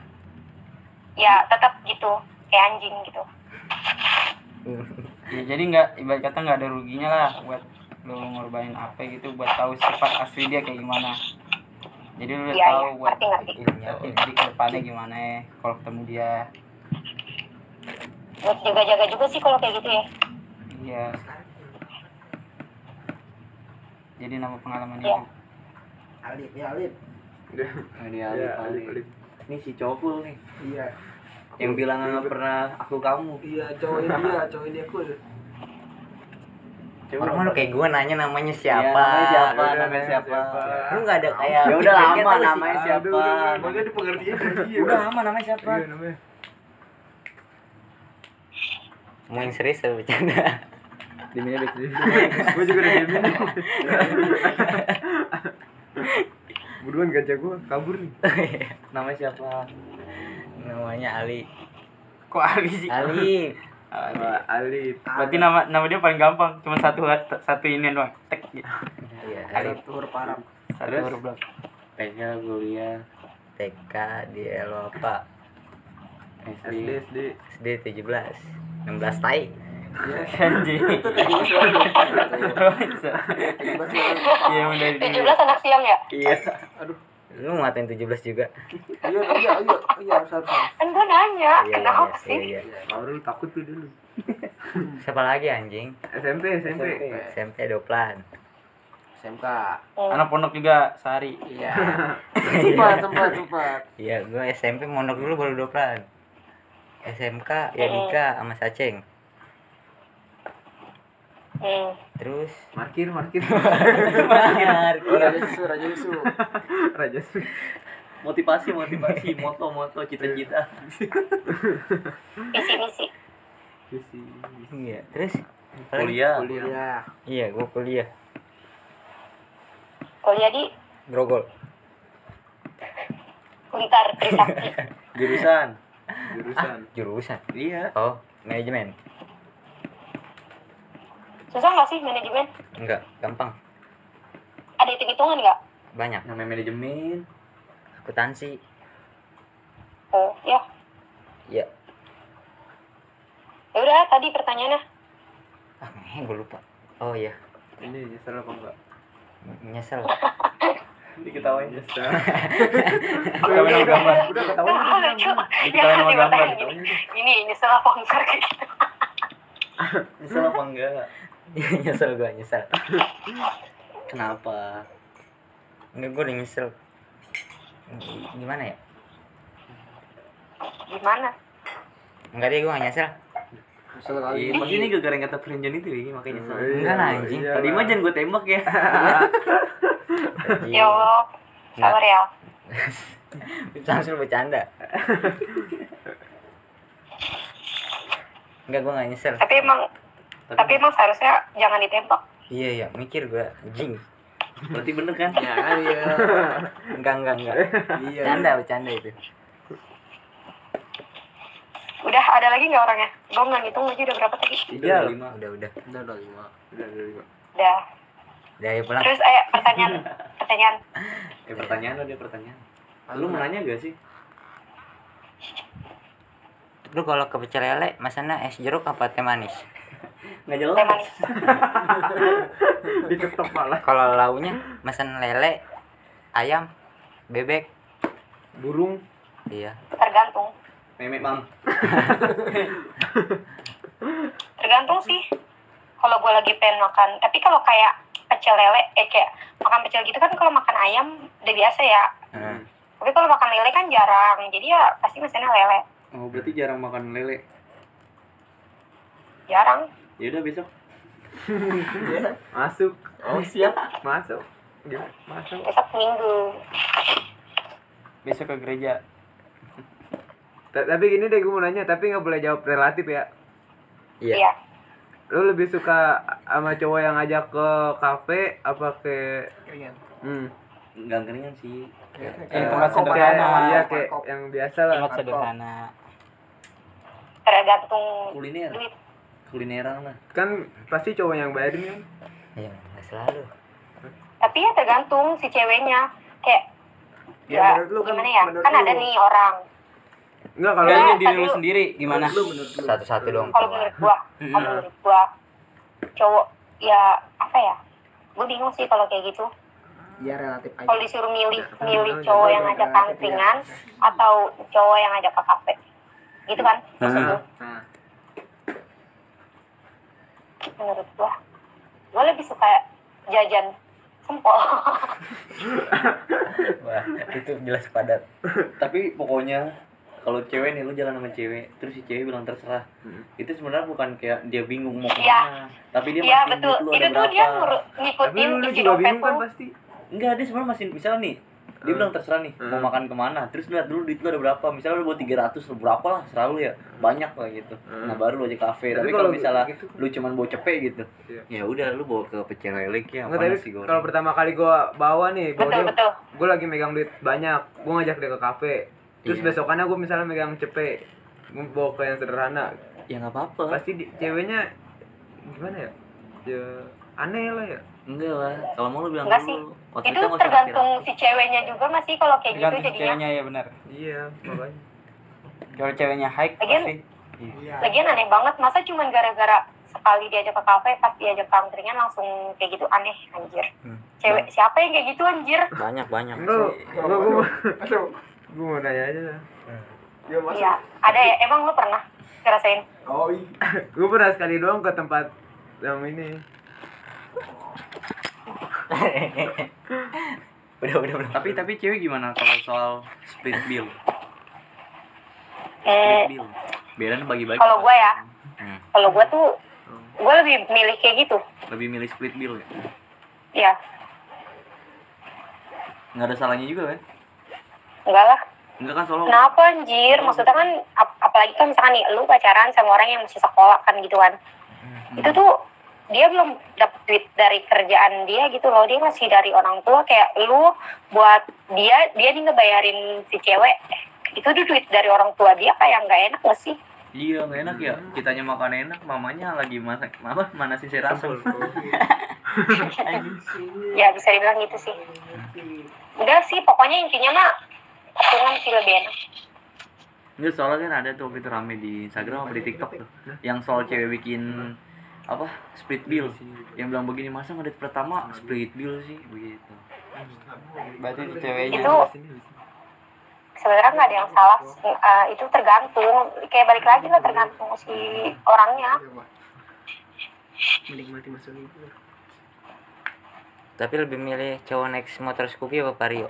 Speaker 7: Ya.
Speaker 2: ya tetap gitu kayak anjing gitu
Speaker 5: Ya, jadi nggak ibarat kata nggak ada ruginya lah buat lu ngorbanin apa gitu buat tahu sifat asli dia kayak gimana jadi lu udah
Speaker 2: Iya,
Speaker 5: tahu
Speaker 2: iya.
Speaker 5: buat
Speaker 2: Ngerti, ngerti.
Speaker 5: Iya, jadi ke depannya gimana ya kalau ketemu dia
Speaker 2: buat jaga-jaga juga sih kalau kayak gitu ya
Speaker 5: iya jadi nama pengalaman
Speaker 2: Iya.
Speaker 5: itu
Speaker 7: Alip ya Alip
Speaker 1: Nah,
Speaker 4: Iya,
Speaker 1: dia Alif, Alif. Ini si Cokul nih.
Speaker 7: iya
Speaker 1: Yang bilang nggak pernah aku kamu.
Speaker 7: iya cowok dia cowok dia cool
Speaker 1: Coba.
Speaker 6: Orang mah lu kayak gue nanya namanya
Speaker 1: Iya,
Speaker 6: siapa.
Speaker 1: namanya siapa?
Speaker 4: Yaudah,
Speaker 1: Namanya siapa?
Speaker 6: Lu gak ada kayak
Speaker 1: Ya udah lama
Speaker 6: feedbacknya tau sih.
Speaker 1: namanya siapa?
Speaker 4: Makanya di pengertian
Speaker 1: Udah lama namanya siapa?
Speaker 4: Iya namanya.
Speaker 6: Mau yang serius atau bercanda?
Speaker 1: Diminnya deh.
Speaker 4: Gue juga udah diemin. Buruan gajah gue kabur nih.
Speaker 1: Namanya siapa?
Speaker 6: namanya Ali. iya.
Speaker 5: Kok Ali sih?
Speaker 6: Ali.
Speaker 4: Wah, Alif.
Speaker 5: Berarti nama nama dia paling gampang, cuma satu satu ini doang. Tek gitu.
Speaker 6: Iya, Ali.
Speaker 3: Satu huruf Arab.
Speaker 5: Satu
Speaker 4: Terus?
Speaker 5: huruf doang.
Speaker 1: TK, kuliah,
Speaker 6: TK di Elopa.
Speaker 4: SD
Speaker 1: SD.
Speaker 4: SD.
Speaker 6: SD 17. 16 tai.
Speaker 5: Anjing. Iya, udah di
Speaker 2: 17 anak siang ya?
Speaker 6: Lu ngatain 17 juga.
Speaker 3: Iya, iya, iya, iya, harus harus. harus.
Speaker 2: Kan gue nanya,
Speaker 6: Iya,
Speaker 2: kenapa
Speaker 6: iya,
Speaker 2: sih?
Speaker 6: iya, iya.
Speaker 4: Baru lu takut tuh dulu.
Speaker 6: Siapa lagi anjing?
Speaker 4: SMP SMP.
Speaker 6: SMP Doplan.
Speaker 3: SMK.
Speaker 2: Hmm.
Speaker 5: anak pondok juga sehari.
Speaker 3: Iya. Cepat, cepat, cepat.
Speaker 6: Iya, gue SMP mondok dulu baru Doplan. SMK ya
Speaker 2: Oh.
Speaker 6: Dika sama Saceng.
Speaker 2: Hmm.
Speaker 6: Terus
Speaker 4: Markir markir.
Speaker 3: Raja Yesu, Raja Yesu.
Speaker 4: Raja Sri.
Speaker 1: Motivasi, motivasi, moto, moto, cita-cita.
Speaker 2: Misi-misi.
Speaker 4: Visi.
Speaker 6: iya, terus apa lagi?
Speaker 1: Kuliah.
Speaker 3: Iya.
Speaker 6: Iya, gue kuliah.
Speaker 2: Kuliah di
Speaker 6: Grogol.
Speaker 2: Untar Trisakti.
Speaker 1: Jurusan.
Speaker 4: Jurusan.
Speaker 6: Jurusan.
Speaker 1: Iya.
Speaker 6: Oh, manajemen.
Speaker 2: Susah nggak sih manajemen?
Speaker 6: Enggak, gampang.
Speaker 2: Ada hitung-hitungan nggak?
Speaker 6: Banyak.
Speaker 1: Namanya manajemen.
Speaker 6: Akuntansi.
Speaker 2: Oh, ya.
Speaker 6: Iya.
Speaker 2: Ya udah, tadi pertanyaannya.
Speaker 6: Ah, eh, gue lupa. Oh iya,
Speaker 4: Ini nyesel apa enggak?
Speaker 6: ny- nyesel.
Speaker 1: Diketawain.
Speaker 4: Nyesel.
Speaker 5: Kawin sama gambar.
Speaker 4: Udah ketahuan
Speaker 2: Ah,
Speaker 4: udah
Speaker 2: lucu. Yang
Speaker 5: Diketawain sama
Speaker 2: nanti
Speaker 5: gambar,
Speaker 2: bertanya gini, Ini nyesel apa enggak kayak gitu.
Speaker 1: Nyesel apa enggak?
Speaker 6: nyesel gue, nyesel.
Speaker 1: Kenapa?
Speaker 6: Enggak, gue udah nyesel. Gimana ya?
Speaker 2: Gimana?
Speaker 6: Enggak deh, gue gak nyesel.
Speaker 3: Kesel kali.
Speaker 1: Iya, pasti ini gara-gara yang kata Frenjan itu ya, makanya nyesel.
Speaker 6: Enggak lah, anjing.
Speaker 4: Iya
Speaker 1: Tadi mah jangan gue tembak ya.
Speaker 6: Anjing.
Speaker 2: Ya Allah. Sabar ya.
Speaker 6: Langsung bercanda. Enggak, gue gak nyesel.
Speaker 2: Tapi emang tapi emang seharusnya jangan ditembak.
Speaker 6: Iya, iya, mikir gue. Jing.
Speaker 1: Berarti bener kan?
Speaker 3: Ya kan iya.
Speaker 6: Enggak, enggak, enggak.
Speaker 3: Iya.
Speaker 6: Bercanda, bercanda itu.
Speaker 2: Udah ada lagi nggak orangnya? Gue nggak ngitung aja udah berapa tadi.
Speaker 1: Tiga,
Speaker 4: Udah,
Speaker 1: lima.
Speaker 6: Udah, udah.
Speaker 3: Udah udah lima.
Speaker 4: Udah, udah, udah.
Speaker 2: Udah.
Speaker 6: Dari pulang.
Speaker 2: Terus eh pertanyaan pertanyaan.
Speaker 1: Eh pertanyaan lo dia pertanyaan. Lu mau nanya gak sih?
Speaker 6: Lu kalau ke pecel lele, masana es jeruk apa teh manis?
Speaker 1: Nggak
Speaker 2: Teh
Speaker 1: jelas.
Speaker 2: manis.
Speaker 4: Diketok malah.
Speaker 6: Kalau launya, mesen lele, ayam, bebek.
Speaker 4: Burung.
Speaker 6: Iya.
Speaker 2: Tergantung.
Speaker 1: Memek mam.
Speaker 2: Tergantung sih. Kalau gue lagi pengen makan, tapi kalau kayak pecel lele, eh kayak makan pecel gitu kan kalau makan ayam udah biasa ya.
Speaker 6: Hmm.
Speaker 2: Tapi kalau makan lele kan jarang, jadi ya pasti mesennya lele.
Speaker 1: Oh berarti jarang makan lele.
Speaker 2: Jarang.
Speaker 1: Ya udah besok.
Speaker 4: Masuk. Oh siap. Masuk. Gimana? Masuk.
Speaker 2: Besok minggu.
Speaker 5: Besok ke gereja.
Speaker 4: Ta- Tapi gini deh gue mau nanya, tapi nggak boleh jawab relatif ya.
Speaker 6: Iya.
Speaker 2: Iya.
Speaker 4: Lu lebih suka sama cowok yang ngajak ke kafe apa ke
Speaker 7: keringan
Speaker 4: hmm.
Speaker 1: Nggak keringan sih.
Speaker 5: Eh, tempat
Speaker 4: eh,
Speaker 5: sederhana.
Speaker 4: kayak- Iya, kayak yang biasa lah.
Speaker 5: Tempat sederhana.
Speaker 2: Tergantung
Speaker 1: Kuliner.
Speaker 2: duit.
Speaker 1: Kulineran lah.
Speaker 4: Kan pasti cowok yang bayarin kan.
Speaker 6: Iya, nggak selalu.
Speaker 2: Tapi ya tergantung si ceweknya. Kayak
Speaker 7: Ya,
Speaker 2: ya,
Speaker 7: menurut lu kan-
Speaker 2: gimana ya?
Speaker 7: menurut
Speaker 2: Kan
Speaker 7: lu.
Speaker 2: ada nih orang.
Speaker 4: Enggak kalau
Speaker 5: Kayaknya
Speaker 2: Nggak,
Speaker 5: diri
Speaker 2: tapi
Speaker 5: lu
Speaker 2: lu-
Speaker 5: sendiri gimana?
Speaker 6: Satu-satu dong.
Speaker 2: Kalau menurut gua, kalau menurut gua cowok ya apa ya? Gue bingung sih kalau kayak gitu.
Speaker 3: Ya relatif aja.
Speaker 2: kalau disuruh milih milih cowok yang
Speaker 1: gitu
Speaker 2: ngajak
Speaker 1: ya.
Speaker 2: kantingan atau cowok yang ngajak ke kafe gitu kan
Speaker 1: Ah,
Speaker 2: maksud lu?
Speaker 4: Nah.
Speaker 2: menurut gua gua lebih suka jajan Sempol.
Speaker 1: Ah,
Speaker 6: Wah, itu jelas padat.
Speaker 1: tapi pokoknya kalau cewek nih lu jalan sama cewek terus si cewek bilang terserah
Speaker 4: Hmm.
Speaker 1: itu sebenarnya bukan kayak dia bingung mau kemana
Speaker 2: Iya.
Speaker 1: tapi dia
Speaker 2: Iya
Speaker 1: masih
Speaker 2: betul.
Speaker 1: ingat lu
Speaker 2: Itu
Speaker 1: ada
Speaker 2: tuh
Speaker 1: berapa
Speaker 2: dia ngurut
Speaker 4: Tapi
Speaker 2: ngikutin
Speaker 4: lu, lu
Speaker 2: isi
Speaker 4: juga bingung kan
Speaker 2: dompet
Speaker 4: pasti.
Speaker 1: enggak dia sebenarnya masih misal nih dia bilang terserah nih mau
Speaker 4: Hmm.
Speaker 1: makan kemana terus lihat dulu duit lu ada berapa misalnya lu buat 300 lu berapa lah selalu ya banyak lah gitu
Speaker 4: Hmm.
Speaker 1: nah baru lu aja kafe
Speaker 4: Tapi
Speaker 1: tapi,
Speaker 4: kalau
Speaker 1: kalau misalnya
Speaker 4: gitu-
Speaker 1: lu cuman bawa cepet gitu
Speaker 4: Iya.
Speaker 1: ya udah lu bawa ke pecel lele ya
Speaker 4: Enggak tadi kalau pertama kali gua bawa nih, bawa
Speaker 2: Betul,
Speaker 4: dia-
Speaker 2: betul.
Speaker 4: gua lagi megang duit banyak, gua ngajak dia ke kafe. Terus
Speaker 1: Iya.
Speaker 4: besokannya gua misalnya megang cepe, gua bawa ke yang sederhana.
Speaker 1: ya nggak apa-apa
Speaker 4: Pasti di- ceweknya gimana ya? Ya aneh lah ya.
Speaker 1: enggak lah kalau mau lu bilang
Speaker 2: Enggak sih.
Speaker 1: dulu Waktu kita
Speaker 2: Itu
Speaker 1: nggak usah
Speaker 2: tergantung
Speaker 1: rapi-rapi.
Speaker 2: si ceweknya juga masih kalau kayak gitu
Speaker 5: tergantung
Speaker 2: jadinya.
Speaker 5: ceweknya ya benar
Speaker 4: Iya, makanya.
Speaker 5: kalau ceweknya high
Speaker 2: Lagian-
Speaker 5: pasti
Speaker 2: Lagian aneh banget masa cuman gara-gara sekali diajak ke kafe pas diajak ke angkringan langsung kayak gitu aneh anjir.
Speaker 4: Hmm.
Speaker 2: Cewek
Speaker 4: Nah.
Speaker 2: siapa yang kayak gitu anjir?
Speaker 6: Banyak banyak.
Speaker 4: Enggak, gua gua mau-
Speaker 7: Aduh.
Speaker 4: gua mau nanya aja. lah.
Speaker 7: Ya masuk.
Speaker 2: Iya, ada ya. Emang lu pernah ngerasain?
Speaker 7: Oh iya.
Speaker 4: Gua pernah sekali doang ke tempat yang ini.
Speaker 6: udah udah udah.
Speaker 1: tapi tapi cewek gimana kalau soal split bill
Speaker 2: Eh,
Speaker 1: split bill biarin bagi-bagi
Speaker 2: kalau gue ya,
Speaker 1: Hmm.
Speaker 2: kalau gue tuh gue lebih milih kayak gitu.
Speaker 1: lebih milih split bill ya
Speaker 2: Iya,
Speaker 1: nggak ada salahnya juga kan
Speaker 2: enggak lah.
Speaker 1: enggak kan soalnya
Speaker 2: Kenapa anjir? Maksudnya kan ap- apalagi kan misalkan nih lu pacaran sama orang yang masih sekolah kan gitu kan. Itu tuh dia belum dapet duit dari kerjaan dia gitu loh. Dia masih dari orang tua kayak lu buat dia dia nih ngebayarin si cewek itu tuh duit dari orang tua dia kayak nggak enak gak sih?
Speaker 1: iya nggak enak ya kitanya makan enak mamanya lagi masak apa mana sih si rasul
Speaker 2: Ya bisa dibilang gitu sih. Udah sih pokoknya intinya mah patungan sih lebih enak.
Speaker 1: Enggak soalnya kan ada tuh waktu itu rame di Instagram apa di TikTok tuh yang soal cewek bikin apa split bill yang bilang begini masa ngedit pertama Iya split bill sih begitu
Speaker 5: berarti itu ceweknya
Speaker 2: Itu
Speaker 1: Iya,
Speaker 2: sebenarnya nggak ada yang salah Eh, itu tergantung kayak balik lagi lah tergantung si orangnya
Speaker 7: Menikmati masa libur.
Speaker 6: Tapi lebih milih cowok naik motor Scoopy apa Vario?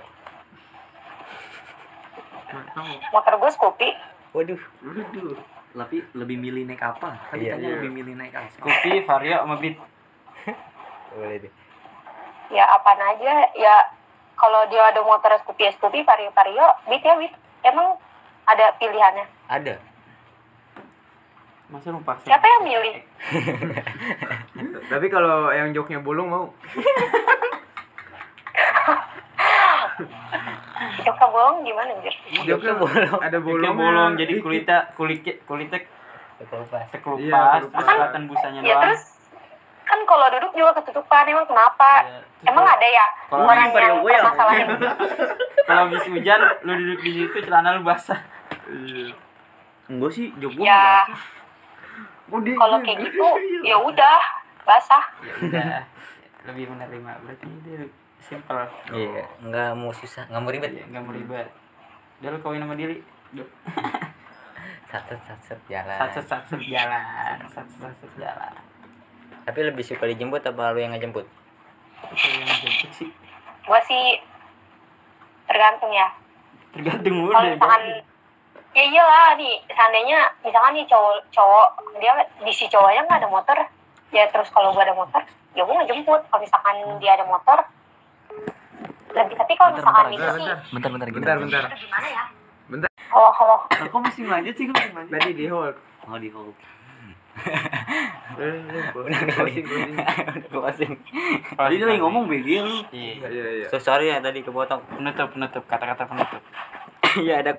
Speaker 2: motor gue Scoopy
Speaker 6: Waduh,
Speaker 7: Aduh.
Speaker 1: tapi lebih milih naik apa kan
Speaker 6: Iya,
Speaker 1: ditanya lebih milih naik apa
Speaker 5: Scoopy, Vario, sama Beat
Speaker 6: boleh deh.
Speaker 2: ya apaan aja ya kalau dia ada motor Scoopy ya Scoopy vario vario beat ya beat emang ada pilihannya
Speaker 6: Ada.
Speaker 5: masa lu paksa
Speaker 2: siapa yang milih
Speaker 4: Tapi kalau yang joknya bolong mau.
Speaker 2: Joksa bolong gimana anjir
Speaker 4: Joknya
Speaker 6: bolong.
Speaker 4: Ada
Speaker 5: Joknya
Speaker 4: bolong.
Speaker 5: bolong jadi kulitnya kulitnya kulitnya
Speaker 6: Ketupas.
Speaker 5: kekelupas
Speaker 4: Iya,
Speaker 5: terus
Speaker 4: kekelupas.
Speaker 5: kelihatan busanya
Speaker 2: ya
Speaker 5: doang
Speaker 2: terus kan kalau duduk juga ketutupan emang kenapa
Speaker 5: Iya.
Speaker 2: emang ada ya
Speaker 5: Kalau
Speaker 2: orang
Speaker 1: ini vario
Speaker 2: yang
Speaker 1: gue ya.
Speaker 2: permasalahin
Speaker 5: kalau habis hujan lu duduk di situ celana lu basah
Speaker 1: enggak sih job gue
Speaker 2: ya
Speaker 1: enggak.
Speaker 2: kalau kayak gitu ya udah basah
Speaker 5: ya udah lebih menerima berarti dia simple
Speaker 6: Iya, nggak mau susah, nggak mau ribet.
Speaker 5: Iya, nggak mau ribet udah lu kawin sama diri
Speaker 6: Satset satset jalan.
Speaker 5: satset satset jalan satset satset jalan
Speaker 6: Tapi lebih suka dijemput apa lu yang ngejemput?
Speaker 5: itu yang jemput sih
Speaker 2: gue sih tergantung ya
Speaker 5: tergantung
Speaker 2: kalau
Speaker 5: udah
Speaker 2: misalkan ya iyalah nih seandainya misalkan nih cowok cowok dia di si cowoknya nggak ada motor ya terus kalau gua ada motor ya gua ngejemput kalau misalkan dia ada motor lebih tapi kalau misalkan ini sih
Speaker 6: Bentar bentar
Speaker 4: Bentar, bentar.
Speaker 2: aduh, gimana ya
Speaker 4: Bentar.
Speaker 2: halo halo
Speaker 1: Nah, kok masih lanjut sih kok masih lanjut
Speaker 4: Tadi di hold.
Speaker 1: oh di hold
Speaker 4: Eh, lu closing, closing, closing.
Speaker 6: Closing.
Speaker 1: tadi dia lagi ngomong begini lu
Speaker 5: Iya.
Speaker 4: Iya, iya.
Speaker 6: So sorry ya tadi kepotong.
Speaker 5: penutup penutup kata-kata penutup
Speaker 6: Iya ada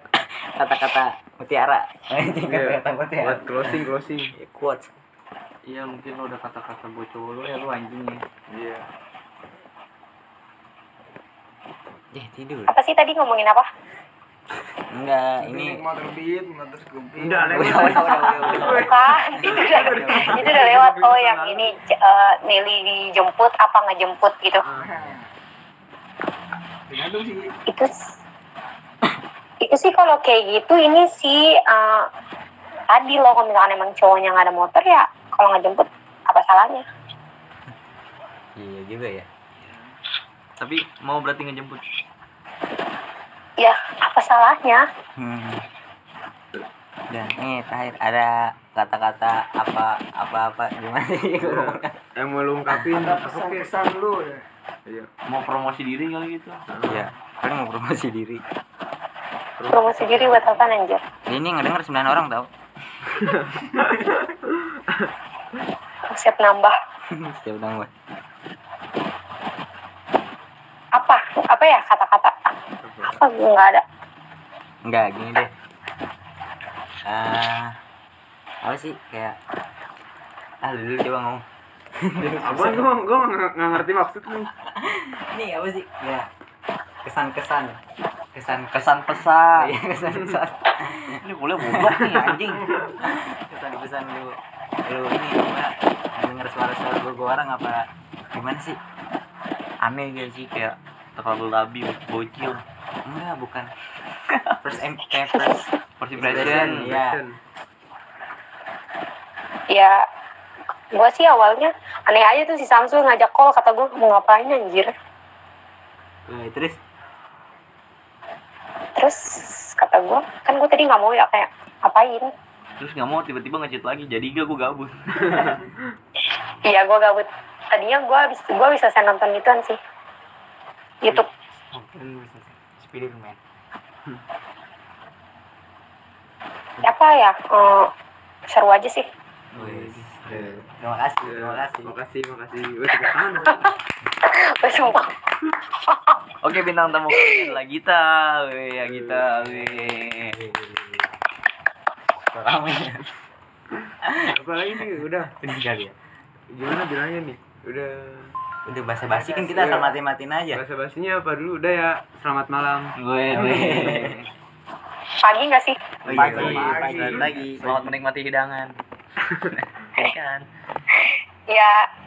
Speaker 6: kata-kata mutiara.
Speaker 4: Iya.
Speaker 6: Kata-kata mutiara.
Speaker 4: Buat closing, closing.
Speaker 6: Quotes.
Speaker 1: iya mungkin lo udah kata-kata bocor lo ya lo anjing ya
Speaker 4: Iya.
Speaker 6: Ya tidur.
Speaker 2: apa sih tadi ngomongin apa
Speaker 6: Enggak,
Speaker 7: Naik
Speaker 6: ini
Speaker 7: motor beat, motor Scoopy.
Speaker 4: Udah, lewat.
Speaker 6: udah udah udah udah.
Speaker 2: bukan itu udah itu udah lewat oh yang ini eh, Nelly dijemput apa ngejemput gitu
Speaker 7: Tergantung sih.
Speaker 2: itu s- itu sih kalau kayak gitu ini sih eh, tadi loh kalau misalkan emang cowoknya nggak ada motor ya kalau nggak jemput apa salahnya
Speaker 6: Iya juga ya.
Speaker 1: tapi mau berarti ngejemput
Speaker 2: ya apa salahnya
Speaker 6: Hmm. Dan ini terakhir ada kata-kata apa apa apa gimana sih?
Speaker 4: Eh mau lu ungkapin Oke.
Speaker 3: pesan-pesan lu ya.
Speaker 4: Iya.
Speaker 1: mau promosi diri kali gitu
Speaker 6: Iya, kalian mau promosi diri.
Speaker 2: promosi diri buat apa anjir
Speaker 6: Ini ngedenger 9 orang tau.
Speaker 2: siap nambah
Speaker 6: Setiap dong gue.
Speaker 2: apa apa ya kata-kata apa gue nggak ada
Speaker 6: Enggak, gini deh. Ah, apa sih kayak ah lu dulu coba ngomong
Speaker 4: Apa gua gua nggak nggak ngerti maksud lu.
Speaker 6: ini apa sih ya kesan-kesan kesan
Speaker 1: kesan pesan
Speaker 6: iya kesan-kesan
Speaker 1: ini boleh berubah nih anjing
Speaker 6: kesan-kesan lu lu ini apa denger suara-suara gue orang apa gimana sih
Speaker 1: aneh gak sih kayak terlalu labil bocil
Speaker 6: enggak bukan first imp eh, first
Speaker 1: first impression
Speaker 6: Iya.
Speaker 2: ya gue sih awalnya aneh aja tuh si Samsul ngajak call kata gue mau ngapain anjir
Speaker 6: Eh, terus
Speaker 2: terus kata gue kan gue tadi nggak mau ya kayak ngapain
Speaker 1: terus nggak mau tiba-tiba ngechat lagi jadi gak gue gabut
Speaker 2: iya gue gabut tadinya gue habis gue bisa saya nonton gituan sih YouTube
Speaker 6: Spiderman
Speaker 2: apa ya eh, seru aja sih
Speaker 1: Oh, iya
Speaker 6: terima kasih terima kasih
Speaker 4: Makasih, makasih. Wah, tepuk tangan.
Speaker 2: gue sumpah
Speaker 1: Oke bintang tamu kami adalah Gita, weh ya Gita, weh.
Speaker 6: ramai
Speaker 4: Apa lagi nih? Udah.
Speaker 6: ini kali ya
Speaker 4: Gimana bilangnya nih? Udah.
Speaker 6: udah bahasa basi kan kita asal mati matiin aja
Speaker 4: Bahasa basinya apa dulu? Udah ya. Selamat malam.
Speaker 1: Weh, weh.
Speaker 2: pagi nggak sih
Speaker 1: Oh, iya,
Speaker 6: Pagi,
Speaker 1: weh.
Speaker 6: pagi.
Speaker 1: Selamat menikmati hidangan. Makan.
Speaker 2: ya